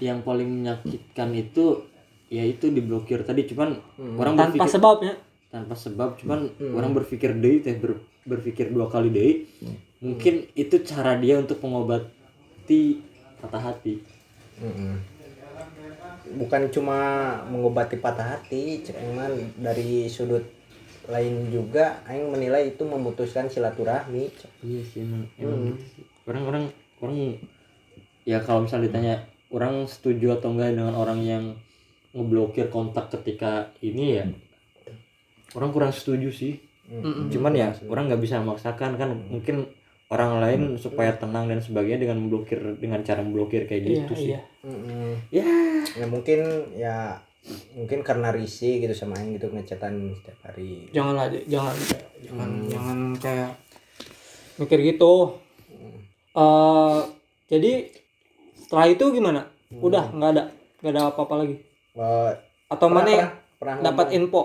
[SPEAKER 2] yang paling menyakitkan itu ya itu diblokir tadi cuman orang
[SPEAKER 3] Tanpa ya.
[SPEAKER 2] berpikir
[SPEAKER 3] sebabnya.
[SPEAKER 2] tanpa sebab cuman orang berpikir deh teh ber- berpikir dua kali deh mungkin itu cara dia untuk mengobati patah hati
[SPEAKER 1] Mm-mm. Bukan cuma mengobati patah hati, Cek Iman dari sudut lain juga aing menilai itu memutuskan silaturahmi, Cok.
[SPEAKER 2] iya sih emang emang gitu sih. orang orang orang ya kalau misalnya ditanya orang setuju atau enggak dengan orang yang ngeblokir kontak ketika ini ya orang kurang setuju sih cuman ya orang nggak bisa memaksakan kan mungkin orang lain supaya tenang dan sebagainya dengan memblokir dengan cara memblokir kayak gitu sih
[SPEAKER 3] Iya, iya.
[SPEAKER 1] Mm-mm.
[SPEAKER 2] ya
[SPEAKER 1] ya mungkin ya mungkin karena risih gitu sama Aing gitu ngecatan setiap hari
[SPEAKER 3] Janganlah Dek. jangan jangan
[SPEAKER 1] Hmm.
[SPEAKER 3] jangan kayak mikir gitu. Eh, jadi setelah itu gimana?
[SPEAKER 1] Hmm.
[SPEAKER 3] Udah nggak ada nggak ada apa-apa lagi.
[SPEAKER 1] Eh,
[SPEAKER 3] Atau
[SPEAKER 1] pernah-
[SPEAKER 3] mana ya?
[SPEAKER 1] pernah, pernah
[SPEAKER 3] dapat
[SPEAKER 1] ngomong-
[SPEAKER 3] info?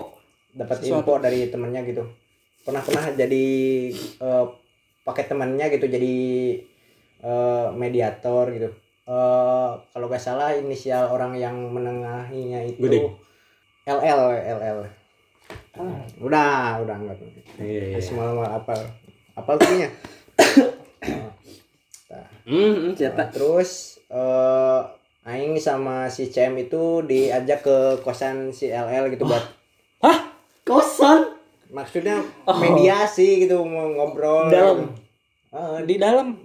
[SPEAKER 1] dapat
[SPEAKER 3] sesuatu.
[SPEAKER 1] info dari temennya gitu pernah pernah jadi eh, pakai temannya gitu jadi eh, mediator gitu Eh, kalau gak salah inisial orang yang menengahinya itu
[SPEAKER 2] Gudeg.
[SPEAKER 1] LL LL
[SPEAKER 3] Oh.
[SPEAKER 1] udah udah enggak
[SPEAKER 2] Iya, iya.
[SPEAKER 1] semua apa apa artinya
[SPEAKER 2] Hmm, hmm,
[SPEAKER 1] Nah,
[SPEAKER 2] cetak.
[SPEAKER 1] terus eh aing sama si CM itu diajak ke kosan si LL gitu buat
[SPEAKER 3] Hah? Kosan
[SPEAKER 1] maksudnya mediasi gitu mau ngobrol
[SPEAKER 3] Dalam.
[SPEAKER 1] gitu. Eh,
[SPEAKER 3] di dalam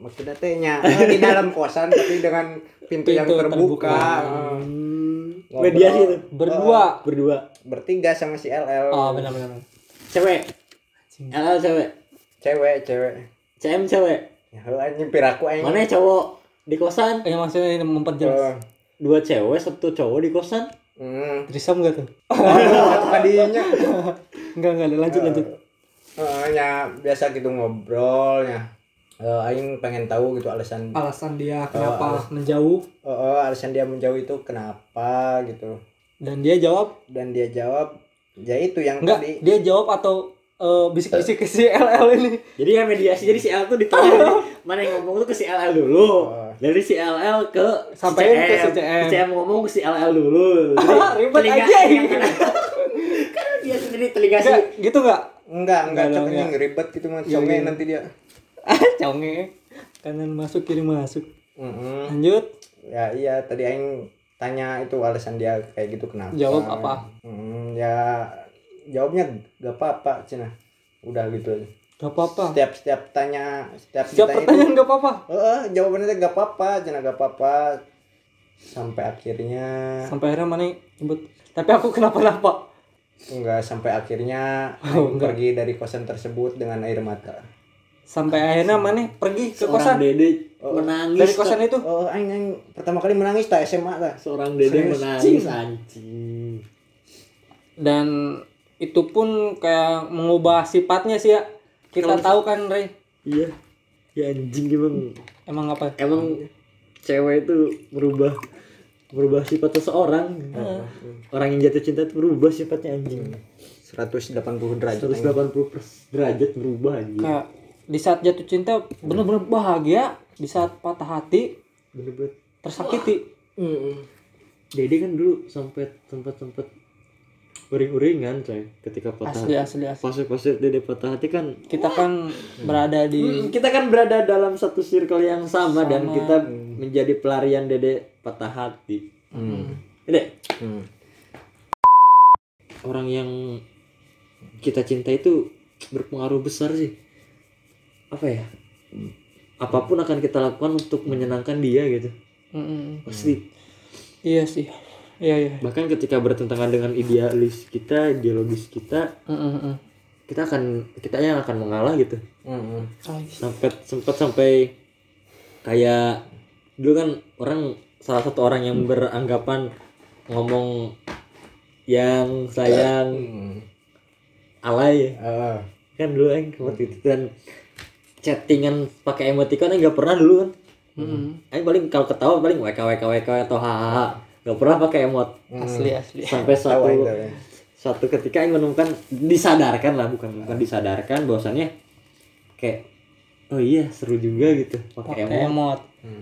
[SPEAKER 1] maksudnya teh nya eh, di dalam kosan tapi dengan pintu, yang
[SPEAKER 3] Pintu
[SPEAKER 1] terbuka, Eh, ngobrol.
[SPEAKER 2] mediasi itu
[SPEAKER 3] berdua.
[SPEAKER 2] berdua
[SPEAKER 1] bertiga sama si LL
[SPEAKER 3] Oh, benar-benar.
[SPEAKER 2] cewek LL cewek
[SPEAKER 1] cewek cewek
[SPEAKER 2] CM cewek
[SPEAKER 1] ya anjing piraku aing
[SPEAKER 2] mana ya cowok di kosan
[SPEAKER 3] Yang Eh, maksudnya ini memperjelas.
[SPEAKER 1] Eh,
[SPEAKER 2] dua cewek satu cowok di kosan
[SPEAKER 1] hmm.
[SPEAKER 3] Trisam gak tuh?
[SPEAKER 1] Aduh, tadinya
[SPEAKER 3] Enggak, enggak ada. Lanjut, lanjut.
[SPEAKER 1] Eh, ya biasa gitu ngobrol ya Eh, aing pengen tahu gitu alasan
[SPEAKER 3] Alasan dia kenapa menjauh
[SPEAKER 1] Eh, eh, alasan dia menjauh itu kenapa gitu
[SPEAKER 3] dan dia jawab
[SPEAKER 1] dan dia jawab ya itu yang
[SPEAKER 3] enggak
[SPEAKER 1] tadi
[SPEAKER 3] dia jawab atau eh, eh, bisik-bisik ke si LL ini.
[SPEAKER 2] Jadi ya mediasi jadi si L tuh ditanya
[SPEAKER 3] Oh.
[SPEAKER 2] jadi mana yang ngomong tuh ke si LL dulu. Dari si LL ke si
[SPEAKER 3] Sampein ke si CM.
[SPEAKER 2] Si CM ngomong ke si LL dulu. Jadi
[SPEAKER 3] Ribet
[SPEAKER 2] telinga-
[SPEAKER 3] aja.
[SPEAKER 2] yang kanan- Karena dia sendiri telinga si
[SPEAKER 3] Enggak, gitu enggak?
[SPEAKER 1] Enggak, enggak,
[SPEAKER 3] Enggak dong,
[SPEAKER 1] katanya
[SPEAKER 3] ya.
[SPEAKER 1] ribet gitu mah. Conge nanti dia.
[SPEAKER 3] Ah, conge. Kanan masuk, kiri masuk.
[SPEAKER 1] Mm-mm.
[SPEAKER 3] Lanjut,
[SPEAKER 1] Ya iya, tadi aing tanya itu alasan dia kayak gitu kenapa.
[SPEAKER 3] jawab apa?
[SPEAKER 1] Mm, ya jawabnya gak apa-apa, Cina. Udah gitu aja.
[SPEAKER 3] Gak apa-apa.
[SPEAKER 1] Setiap setiap tanya, setiap
[SPEAKER 3] Oh. Setiap
[SPEAKER 1] ditanya itu,
[SPEAKER 3] pertanyaan gak apa-apa.
[SPEAKER 1] "Eh, jawabannya teh gak apa-apa, Cina gak apa-apa. Sampai akhirnya
[SPEAKER 3] Sampai akhirnya mana nyebut. Tapi aku kenapa-napa.
[SPEAKER 1] enggak sampai akhirnya
[SPEAKER 3] Oh,
[SPEAKER 1] aing pergi dari kosan tersebut dengan air mata.
[SPEAKER 3] Sampai akhirnya mana pergi ke
[SPEAKER 2] seorang
[SPEAKER 3] kosan.
[SPEAKER 2] dede
[SPEAKER 1] Oh,
[SPEAKER 2] menangis.
[SPEAKER 3] Dari kosan itu.
[SPEAKER 1] Oh, aing aing pertama kali menangis tak SMA tak.
[SPEAKER 2] seorang dede
[SPEAKER 1] Serius,
[SPEAKER 2] menangis
[SPEAKER 1] cing.
[SPEAKER 2] anjing.
[SPEAKER 3] Dan itu pun kayak mengubah sifatnya sih ya. Kita tahu kan, Rey.
[SPEAKER 2] Iya. Ya anjing emang
[SPEAKER 3] Emang apa?
[SPEAKER 2] emang cewek itu merubah merubah sifat seseorang Nah,
[SPEAKER 3] iya.
[SPEAKER 2] orang yang jatuh cinta itu merubah sifatnya anjing
[SPEAKER 1] 180 derajat.
[SPEAKER 2] 180 derajat berubah anjing
[SPEAKER 3] Kayak di saat jatuh cinta bener-bener bahagia. Di saat patah hati
[SPEAKER 2] bener-bener
[SPEAKER 3] tersakiti.
[SPEAKER 2] Dede kan dulu sampai tempat tempat uring-uringan kan, coy ketika patah
[SPEAKER 3] Asli, asli, asli.
[SPEAKER 2] fase-fase dede patah hati kan
[SPEAKER 3] Kita kan berada di...
[SPEAKER 2] kita kan berada dalam satu circle yang sama, dan kita menjadi pelarian dede patah hati Dede
[SPEAKER 1] Hmm.
[SPEAKER 2] orang yang kita cinta itu berpengaruh besar sih apa ya apapun akan kita lakukan untuk menyenangkan dia gitu
[SPEAKER 3] Mm-mm.
[SPEAKER 2] pasti
[SPEAKER 3] Iya sih. Iya, iya.
[SPEAKER 2] bahkan ketika bertentangan dengan idealis kita ideologis kita
[SPEAKER 3] Mm-mm.
[SPEAKER 2] kita akan kita yang akan mengalah gitu
[SPEAKER 1] Hmm.
[SPEAKER 2] sampai sempat sampai kayak dulu kan orang salah satu orang yang beranggapan ngomong yang sayang
[SPEAKER 1] Hmm.
[SPEAKER 2] alay
[SPEAKER 1] Ah.
[SPEAKER 2] kan dulu yang seperti itu dan chattingan pakai emoticon yang nggak pernah dulu kan
[SPEAKER 3] Mm-mm.
[SPEAKER 2] Aing paling kalau ketawa paling wkwkwk atau hahaha nggak pernah pakai emot
[SPEAKER 3] Asli, asli.
[SPEAKER 2] sampai
[SPEAKER 1] Tahu
[SPEAKER 2] suatu
[SPEAKER 1] aing tahu, ya.
[SPEAKER 2] suatu ketika yang menemukan disadarkan lah bukan bukan disadarkan bahwasannya kayak oh iya seru juga gitu pakai
[SPEAKER 3] Pakai
[SPEAKER 2] emot
[SPEAKER 3] emot.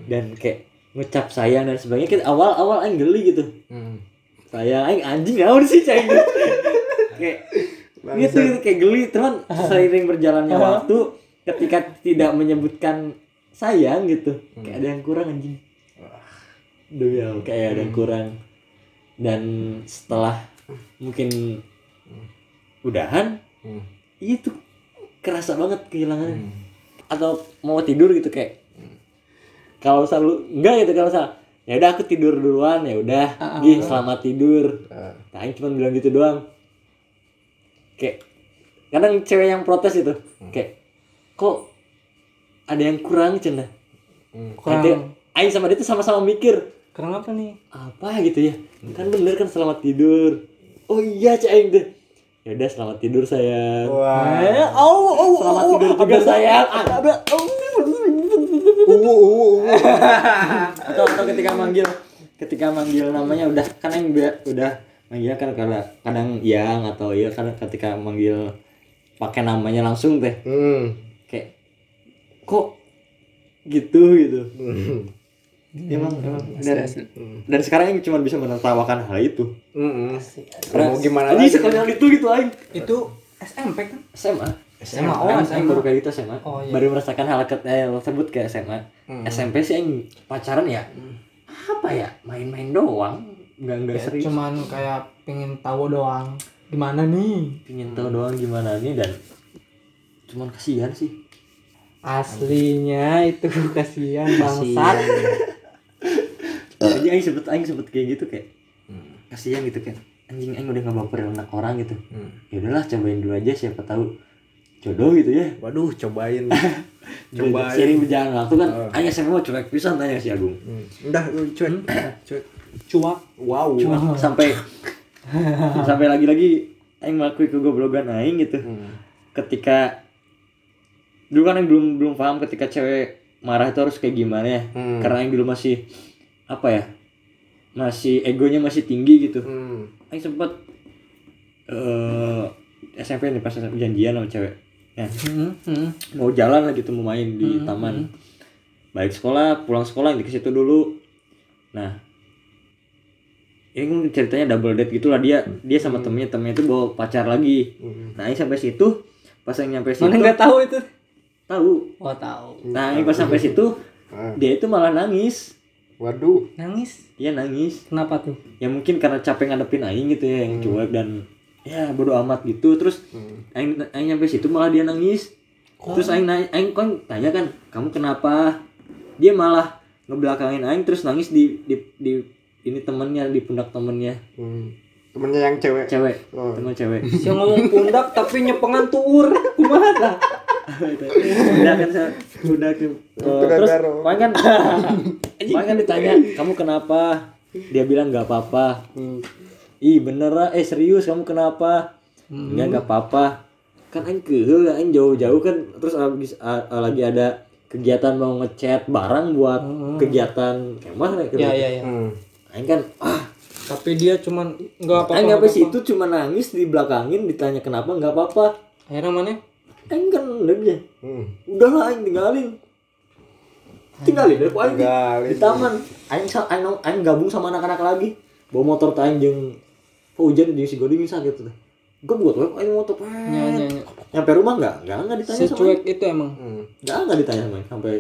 [SPEAKER 2] dan kayak ngucap sayang dan sebagainya Kayak awal awal aing geli gitu
[SPEAKER 1] Hmm.
[SPEAKER 2] sayang aing eh, anjing naon sih cai kayak gitu gitu kayak geli teman seiring berjalannya waktu ketika tidak menyebutkan sayang gitu kayak ada yang kurang anjing demi Allah, Hmm. kayak ada yang kurang dan setelah mungkin Hmm. udahan
[SPEAKER 1] Hmm.
[SPEAKER 2] Iya, itu kerasa banget kehilangannya atau mau tidur gitu kayak kalau selalu enggak gitu kalau salah ya udah aku tidur duluan ya udah gih selamat tidur
[SPEAKER 1] Ah.
[SPEAKER 2] nah Aing cuma bilang gitu doang kayak kadang cewek yang protes itu kayak kok ada yang kurang cina
[SPEAKER 3] Kurang.
[SPEAKER 2] Aing sama dia tuh sama-sama mikir
[SPEAKER 3] Kurang apa nih?
[SPEAKER 2] apa gitu ya kan bener kan selamat tidur oh iya cek Aing tuh ya udah selamat tidur sayang
[SPEAKER 1] Wah.
[SPEAKER 3] Eh, au, au,
[SPEAKER 2] selamat
[SPEAKER 3] au,
[SPEAKER 2] tidur juga sayang Ah,
[SPEAKER 3] ada, au.
[SPEAKER 1] Uwu uwu uwu.
[SPEAKER 2] atau atau ketika manggil ketika manggil namanya udah kan yang be- udah manggil kan kadang kadang yang atau iya kan ketika manggil pakai namanya langsung teh
[SPEAKER 1] Hmm.
[SPEAKER 2] kayak kok gitu gitu
[SPEAKER 1] Hmm.
[SPEAKER 2] emang emang dan, dan sekarang yang cuma bisa menertawakan hal itu
[SPEAKER 1] Hmm. Mau gimana
[SPEAKER 2] ini
[SPEAKER 1] lagi?
[SPEAKER 2] sekarang itu gitu aing
[SPEAKER 3] Itu SMP kan?
[SPEAKER 2] SMA
[SPEAKER 1] SMA.
[SPEAKER 2] oh SMA baru kayak gitu SMA
[SPEAKER 3] Oh, iya.
[SPEAKER 2] baru merasakan hal ket- eh, tersebut ke SMA SMP sih aing pacaran ya apa ya main-main doang nggak nggak
[SPEAKER 3] Ya,
[SPEAKER 2] serius
[SPEAKER 3] Cuman kayak pengen tahu doang. Gimana nih?
[SPEAKER 2] pingin tahu doang gimana nih dan cuman kasihan sih
[SPEAKER 3] Aslinya itu kasihan bangsat.
[SPEAKER 2] jadi aing sempet aing sempet kayak gitu kayak kasihan gitu kayak anjing aing udah nggak baperin anak orang gitu ya udahlah cobain dulu aja siapa tahu jodoh gitu ya
[SPEAKER 1] Waduh, cobain.
[SPEAKER 2] coba
[SPEAKER 1] cobain.
[SPEAKER 2] sering berjalan waktu kan aing SMP mau cuek pisan tanya si Agung
[SPEAKER 1] Hmm. Udah, lu cuek. Cuek.
[SPEAKER 3] Cuak.
[SPEAKER 1] Wow.
[SPEAKER 2] Cuma sampai sampai lagi-lagi aing mengakui kegoblokan aing gitu ketika dulu kan yang belum belum paham ketika cewek marah itu harus kayak gimana ya
[SPEAKER 1] Hmm.
[SPEAKER 2] karena yang dulu masih apa ya masih egonya masih tinggi gitu
[SPEAKER 1] Hmm.
[SPEAKER 2] Aing sempet eh SMP nih pas SMP janjian sama cewek ya.
[SPEAKER 3] Hmm, hmm.
[SPEAKER 2] mau jalan lah gitu mau main di taman
[SPEAKER 3] hmm.
[SPEAKER 2] balik sekolah pulang sekolah di situ dulu nah ini kan ceritanya double date gitulah dia dia sama
[SPEAKER 3] Hmm.
[SPEAKER 2] temennya temennya itu bawa pacar lagi nah ini sampai situ pas yang nyampe situ
[SPEAKER 3] Mana nggak tahu itu?
[SPEAKER 2] tahu
[SPEAKER 3] Oh tahu.
[SPEAKER 2] nah ini pas sampai situ
[SPEAKER 3] Ah.
[SPEAKER 2] dia itu malah nangis
[SPEAKER 4] Waduh.
[SPEAKER 3] Nangis.
[SPEAKER 2] dia nangis
[SPEAKER 3] Kenapa tuh?
[SPEAKER 2] ya mungkin karena capek ngadepin aing gitu ya yang cuek dan ya bodo amat gitu terus aing aing nyampe situ malah dia nangis terus aing nanya aing kan tanya kan kamu kenapa dia malah ngebelakangin aing terus nangis di di, di ini temennya di pundak temennya
[SPEAKER 4] Hmm. Temennya yang cewek.
[SPEAKER 2] cewek
[SPEAKER 4] Oh.
[SPEAKER 2] temen cewek
[SPEAKER 3] Si yang ngomong pundak tapi nyepengan tuur. Kumaha tah?
[SPEAKER 2] pundak kan saya pundak tuh. Eh, terus
[SPEAKER 4] daro.
[SPEAKER 2] paling kan paling kan ditanya kamu kenapa dia bilang nggak apa-apa
[SPEAKER 3] Hmm.
[SPEAKER 2] ih bener ah. eh serius kamu kenapa
[SPEAKER 3] Hmm.
[SPEAKER 2] Enggak nggak apa-apa kan aing keuheul aing jauh-jauh kan terus abis- a- a- lagi ada kegiatan mau ngecat barang buat kegiatan kemah kayak gitu.
[SPEAKER 3] Hmm. Ya ya ya.
[SPEAKER 4] Hmm.
[SPEAKER 2] aing kan ah
[SPEAKER 3] Tapi dia cuman nggak
[SPEAKER 2] aing
[SPEAKER 3] apa-apa.
[SPEAKER 2] apa sih itu cuma nangis di belakangin ditanya kenapa nggak apa-apa
[SPEAKER 3] Akhirnya mana?
[SPEAKER 2] aing kan udah aja
[SPEAKER 4] Hmm.
[SPEAKER 2] udahlah aing tinggalin tinggalin deh aing di,
[SPEAKER 4] Tinggalin.
[SPEAKER 2] di taman aing sa- aing aing gabung sama anak-anak lagi bawa motor teh aing jeung oh, hujan jeung si Goding sakit teh gue buat web aing motor pet.
[SPEAKER 3] Ya ya ya.
[SPEAKER 2] nyampe rumah enggak enggak enggak ditanya sama aing
[SPEAKER 3] Secuek itu emang.
[SPEAKER 4] Hmm.
[SPEAKER 2] enggak enggak ditanya sama aing sampai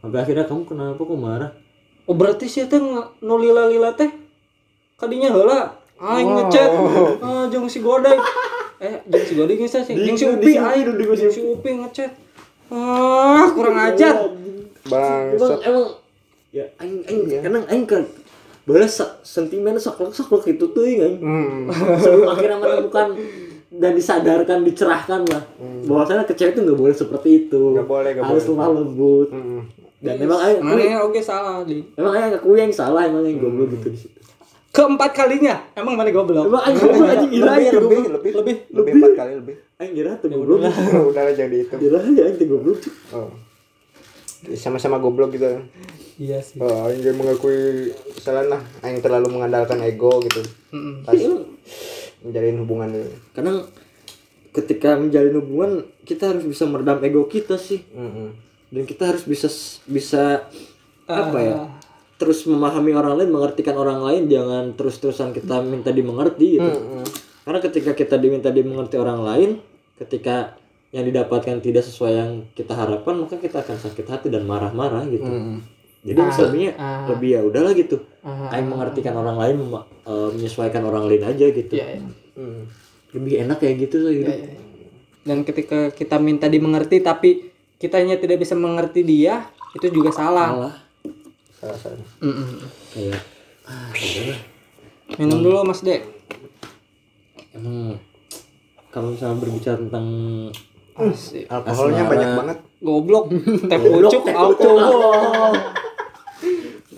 [SPEAKER 2] sampai akhirnya kamu kenapa kok marah
[SPEAKER 3] Oh berarti sih teh nge- nu lila-lila teh kadinya heula aing ngechat ah jeung si Godai. Eh jeung si Godai geus sih. Jeung
[SPEAKER 2] Di-
[SPEAKER 3] si
[SPEAKER 2] di
[SPEAKER 3] Upi
[SPEAKER 2] sini,
[SPEAKER 3] aing
[SPEAKER 2] di- di-
[SPEAKER 3] jeung si Upi ngechat. Ah kurang ajar.
[SPEAKER 4] Bangsat.
[SPEAKER 2] Oh, emang emang ya aing aing kadang aing kan balas sa- sentimen saklek saklek itu tuh aing
[SPEAKER 4] Hmm.
[SPEAKER 2] sebelum akhirnya menemukan dan disadarkan dicerahkan lah bahwasanya kecewa itu nggak boleh seperti itu
[SPEAKER 4] Hmm. Nggak boleh, nggak
[SPEAKER 2] harus
[SPEAKER 4] boleh.
[SPEAKER 2] lemah lembut
[SPEAKER 4] Hmm.
[SPEAKER 2] dan memang aing
[SPEAKER 3] Mana ya, oke salah di.
[SPEAKER 2] memang aing aku yang salah emang aing goblok
[SPEAKER 4] Hmm.
[SPEAKER 2] gitu di situ
[SPEAKER 3] Keempat kalinya emang mana goblok.
[SPEAKER 2] emang aing goblok anjing gila
[SPEAKER 4] Lebih,
[SPEAKER 2] aing
[SPEAKER 4] lebih,
[SPEAKER 2] goblok
[SPEAKER 4] ya, lebih,
[SPEAKER 3] Lebih.
[SPEAKER 4] lebih empat kali lebih.
[SPEAKER 2] aing gila tuh goblok
[SPEAKER 4] Udah lah, jadi itu.
[SPEAKER 2] gila ya aing tuh goblok
[SPEAKER 4] Oh. Sama-sama goblok gitu.
[SPEAKER 3] Iya sih.
[SPEAKER 4] Oh, aing juga mengakui kesalahan lah. Aing terlalu mengandalkan ego gitu.
[SPEAKER 3] Mm-mm.
[SPEAKER 4] Pas menjalin hubungan dulu.
[SPEAKER 2] kadang ketika menjalin hubungan kita harus bisa meredam ego kita sih
[SPEAKER 4] Mm-mm.
[SPEAKER 2] dan kita harus bisa bisa apa ya
[SPEAKER 3] Ah.
[SPEAKER 2] terus memahami orang lain mengertikan orang lain jangan terus-terusan kita minta dimengerti gitu karena ketika kita diminta dimengerti orang lain ketika yang didapatkan tidak sesuai yang kita harapkan maka kita akan sakit hati dan marah-marah gitu jadi
[SPEAKER 3] Ah,
[SPEAKER 2] misalnya lebih ya udahlah gitu Aing mengertikan orang lain mema- eh, menyesuaikan orang lain aja gitu
[SPEAKER 3] Iya, iya.
[SPEAKER 4] Mm.
[SPEAKER 2] lebih enak kayak gitu saya hidup
[SPEAKER 3] Dan ketika kita minta dimengerti tapi kitanya tidak bisa mengerti dia, itu juga salah. Mm,
[SPEAKER 2] Malah
[SPEAKER 4] Salah salah.
[SPEAKER 3] Mm-mm.
[SPEAKER 2] kayak ah, udahlah.
[SPEAKER 3] Minum dulu Mas Dek.
[SPEAKER 2] emang kalau misalnya berbicara tentang
[SPEAKER 3] Asik.
[SPEAKER 4] Alkoholnya banyak banget.
[SPEAKER 3] Goblok, teh pucuk, alkohol.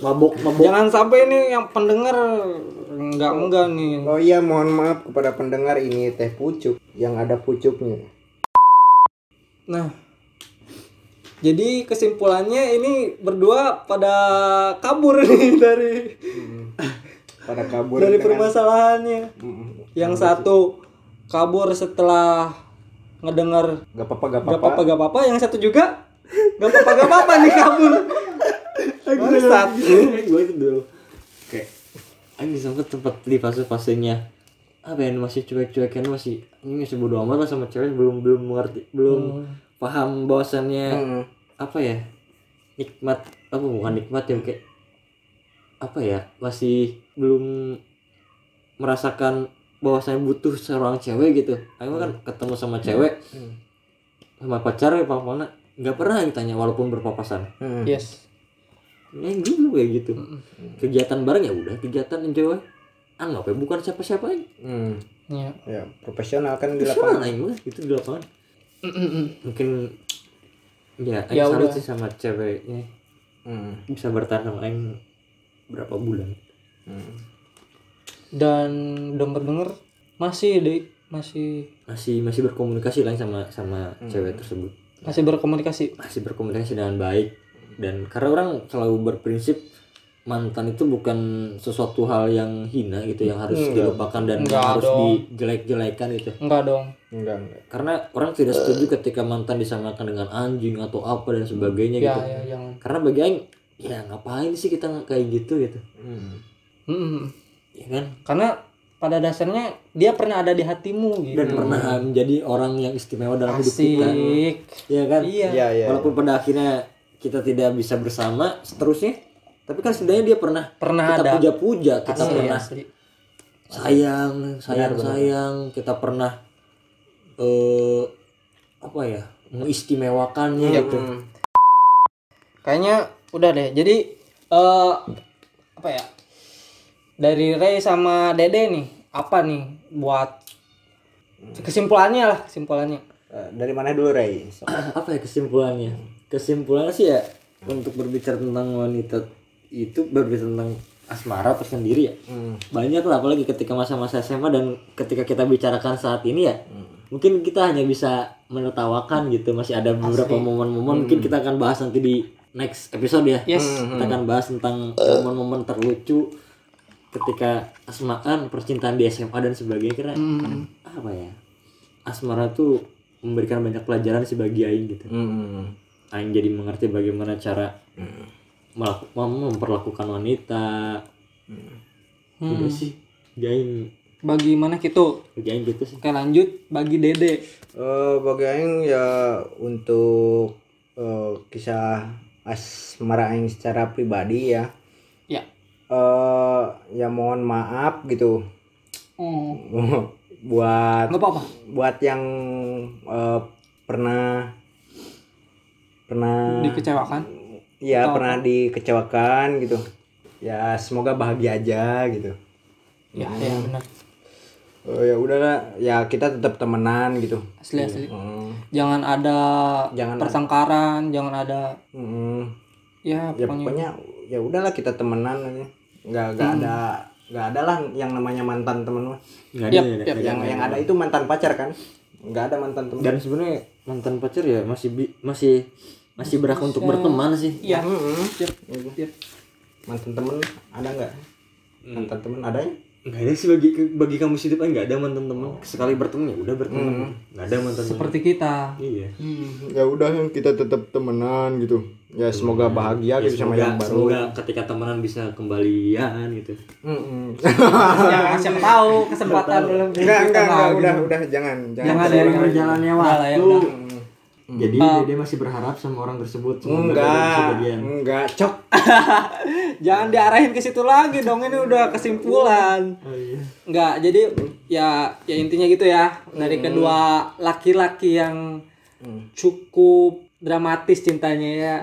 [SPEAKER 2] mabok mabok
[SPEAKER 3] Jangan sampai ini yang pendengar enggak enggak nih.
[SPEAKER 4] Oh iya, mohon maaf kepada pendengar ini teh pucuk yang ada pucuknya.
[SPEAKER 3] Nah, jadi kesimpulannya ini berdua pada kabur nih dari
[SPEAKER 4] Pada kabur
[SPEAKER 3] dari
[SPEAKER 4] dengan-
[SPEAKER 3] permasalahannya.
[SPEAKER 4] Mm-mm.
[SPEAKER 3] Yang satu kabur setelah ngedengar
[SPEAKER 4] Gak apa-apa, gak
[SPEAKER 3] gak
[SPEAKER 4] apa-apa.
[SPEAKER 3] apa-apa gak apa-apa, yang satu juga gak apa-apa gak apa-apa nih kabur. Bangsat.
[SPEAKER 2] gue itu dulu kayak ini sempet tempat di fase fasenya apa ya masih cuek-cuekan masih ini masih bodo amat lah sama cewek belum belum mengerti
[SPEAKER 3] Hmm.
[SPEAKER 2] belum paham bahwasannya
[SPEAKER 4] Hmm.
[SPEAKER 2] apa ya nikmat apa bukan nikmat ya kayak apa ya masih belum merasakan bahwasannya butuh seorang cewek gitu aku kan ketemu sama cewek
[SPEAKER 4] Hmm.
[SPEAKER 2] sama pacar ya mana nggak pernah ditanya walaupun berpapasan
[SPEAKER 4] Hmm.
[SPEAKER 3] Yes.
[SPEAKER 2] Ya dulu kayak gitu. Kegiatan bareng ya udah, kegiatan enjoy. Anggap ya bukan siapa-siapa aja.
[SPEAKER 4] Hmm.
[SPEAKER 3] Iya.
[SPEAKER 4] Ya, profesional kan di lapangan.
[SPEAKER 2] Siapa lain mah gitu di lapangan. Mungkin ya,
[SPEAKER 3] Ya
[SPEAKER 2] ya salut
[SPEAKER 3] udah.
[SPEAKER 2] sih sama ceweknya
[SPEAKER 4] Hmm.
[SPEAKER 2] bisa bertahan sama aing berapa bulan.
[SPEAKER 4] Hmm.
[SPEAKER 3] Dan denger-denger masih Dek, masih
[SPEAKER 2] Masih masih berkomunikasi lain sama sama cewek tersebut.
[SPEAKER 3] masih berkomunikasi
[SPEAKER 2] Masih berkomunikasi dengan baik dan karena orang selalu berprinsip mantan itu bukan sesuatu hal yang hina gitu yang harus dilupakan dan harus dijelek-jelekan gitu
[SPEAKER 3] Enggak dong.
[SPEAKER 1] Enggak, enggak.
[SPEAKER 2] karena orang tidak setuju ketika mantan disamakan dengan anjing atau apa dan sebagainya
[SPEAKER 3] Ya,
[SPEAKER 2] gitu
[SPEAKER 3] ya, jangan.
[SPEAKER 2] karena bagi Aing ya ngapain sih kita kayak gitu gitu
[SPEAKER 1] Hmm.
[SPEAKER 3] Mm-mm.
[SPEAKER 2] ya kan
[SPEAKER 3] Karena pada dasarnya dia pernah ada di hatimu gitu.
[SPEAKER 2] dan pernah menjadi orang yang istimewa dalam hidup kita
[SPEAKER 3] Asik.
[SPEAKER 2] ya kan
[SPEAKER 3] Iya.
[SPEAKER 1] Iya, iya.
[SPEAKER 2] walaupun pada akhirnya kita tidak bisa bersama seterusnya tapi kan sebenarnya dia pernah
[SPEAKER 3] Pernah
[SPEAKER 2] kita
[SPEAKER 3] ada.
[SPEAKER 2] puja-puja kita
[SPEAKER 3] Asli,
[SPEAKER 2] pernah
[SPEAKER 3] asli.
[SPEAKER 2] sayang sayang sayang kita pernah eh apa ya mengistimewakannya
[SPEAKER 3] Iya,
[SPEAKER 2] gitu
[SPEAKER 3] Kayaknya udah deh. Jadi eh apa ya? Dari Ray sama Dede nih, apa nih buat kesimpulannya lah, kesimpulannya.
[SPEAKER 1] Eh, dari mana dulu Ray? So-
[SPEAKER 2] apa ya kesimpulannya kesimpulannya sih ya untuk berbicara tentang wanita itu berbicara tentang asmara tersendiri ya banyak lah apalagi ketika masa-masa SMA dan ketika kita bicarakan saat ini ya mungkin kita hanya bisa menertawakan gitu masih ada beberapa momen-momen mungkin kita akan bahas nanti di next episode ya
[SPEAKER 3] Yes.
[SPEAKER 2] kita akan bahas tentang momen-momen terlucu ketika asmaan percintaan di SMA dan sebagainya karena apa ya asmara tuh memberikan banyak pelajaran sih bagi Aing gitu
[SPEAKER 1] Hmm.
[SPEAKER 2] Aing jadi mengerti bagaimana cara melaku- mem- memperlakukan wanita Hmm. udah
[SPEAKER 3] Hmm.
[SPEAKER 2] sih Bagi Aing
[SPEAKER 3] Bagaimana gitu?
[SPEAKER 2] bagi Aing gitu sih
[SPEAKER 3] Oke, lanjut bagi Dede.
[SPEAKER 1] Eh, bagi aing ya untuk eh, kisah asmara aing secara pribadi ya.
[SPEAKER 3] Ya.
[SPEAKER 1] Eh ya mohon maaf gitu
[SPEAKER 3] Oh,
[SPEAKER 2] Hmm.
[SPEAKER 1] buat
[SPEAKER 3] enggak apa-apa.
[SPEAKER 1] buat yang eh, pernah pernah
[SPEAKER 3] Dikecewakan.
[SPEAKER 1] ya pernah dikecewakan gitu. Ya semoga bahagia aja gitu.
[SPEAKER 3] Ya, ya benar.
[SPEAKER 1] Eh, ya udahlah ya kita tetap temenan gitu.
[SPEAKER 3] Asli asli.
[SPEAKER 1] Hmm.
[SPEAKER 3] Jangan ada
[SPEAKER 1] Jangan ada.
[SPEAKER 3] pertengkaran, jangan ada
[SPEAKER 1] Hmm.
[SPEAKER 3] ya
[SPEAKER 1] ya
[SPEAKER 3] pokoknya
[SPEAKER 1] pokoknya ya udahlah kita temenan aja nggak nggak
[SPEAKER 2] Hmm.
[SPEAKER 1] ada nggak ada lah yang namanya mantan temen mah
[SPEAKER 2] nggak
[SPEAKER 3] Yap,
[SPEAKER 2] nggak
[SPEAKER 3] yap.
[SPEAKER 2] nggak
[SPEAKER 1] yang yang ada itu mantan pacar kan nggak ada mantan temen
[SPEAKER 2] Ya, dan sebenarnya mantan pacar ya masih bi- masih masih berhak untuk berteman sih
[SPEAKER 3] Iya.
[SPEAKER 1] Mm-mm.
[SPEAKER 3] Siap, siap.
[SPEAKER 1] Hmm. Gitu. mantan temen ada nggak
[SPEAKER 2] Hmm.
[SPEAKER 1] mantan temen ada ya
[SPEAKER 2] nggak ada sih bagi bagi kamu sih Aing nggak ada mantan teman sekali berteman ya udah berteman nggak ada mantan teman
[SPEAKER 3] Hmm. Seperti kita. Hmm.
[SPEAKER 2] iya
[SPEAKER 1] ya udah kita tetap temenan gitu ya semoga bahagia
[SPEAKER 2] Ya,
[SPEAKER 1] gitu sama
[SPEAKER 2] semoga-
[SPEAKER 1] yang baru
[SPEAKER 2] semoga ketika temenan bisa kembalian gitu
[SPEAKER 1] Mm-mm. Ah.
[SPEAKER 3] Ya, siapa tahu kesempatan belum
[SPEAKER 1] enggak
[SPEAKER 3] diberikan
[SPEAKER 1] enggak enggak
[SPEAKER 3] lagi.
[SPEAKER 1] udah udah jangan jangan
[SPEAKER 3] Jangan
[SPEAKER 2] Seiring
[SPEAKER 3] jangan.
[SPEAKER 2] berjalannya
[SPEAKER 3] Udah lah, ya,
[SPEAKER 2] waktu.
[SPEAKER 3] udah.
[SPEAKER 2] Jadi Dede masih berharap sama orang tersebut semoga Dede
[SPEAKER 1] enggak
[SPEAKER 2] bisa jadian.
[SPEAKER 1] enggak cok
[SPEAKER 3] Jangan diarahin ke situ lagi dong ini udah kesimpulan.
[SPEAKER 2] Oh, iya.
[SPEAKER 3] Enggak, jadi ya ya intinya gitu ya dari kedua laki-laki yang cukup dramatis cintanya ya.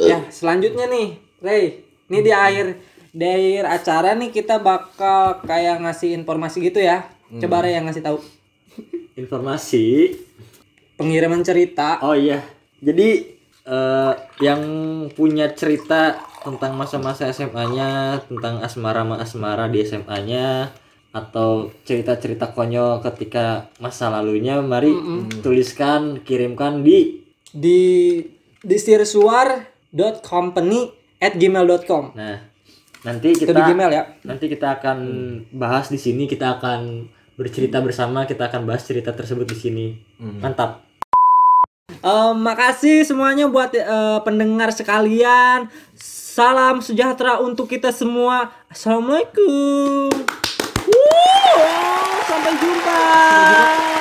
[SPEAKER 3] Ya, selanjutnya nih, Ray. Ini di akhir di akhir acara nih kita bakal kayak ngasih informasi gitu ya. Coba Ray yang ngasih tahu.
[SPEAKER 2] Informasi.
[SPEAKER 3] Pengiriman cerita.
[SPEAKER 2] Oh iya. Jadi eh, yang punya cerita tentang masa-masa SMA-nya, tentang asmara-asmara di SMA-nya atau cerita-cerita konyol ketika masa lalunya mari tuliskan kirimkan di
[SPEAKER 3] di di sirsuar.company at gmail.com
[SPEAKER 2] nah nanti
[SPEAKER 3] itu
[SPEAKER 2] kita
[SPEAKER 3] di gmail ya
[SPEAKER 2] Nanti kita akan bahas di sini, kita akan bercerita bersama, kita akan bahas cerita tersebut di sini. Mantap.
[SPEAKER 3] Eh, makasih semuanya buat eh, pendengar sekalian salam sejahtera untuk kita semua assalamualaikum Wuh, sampai jumpa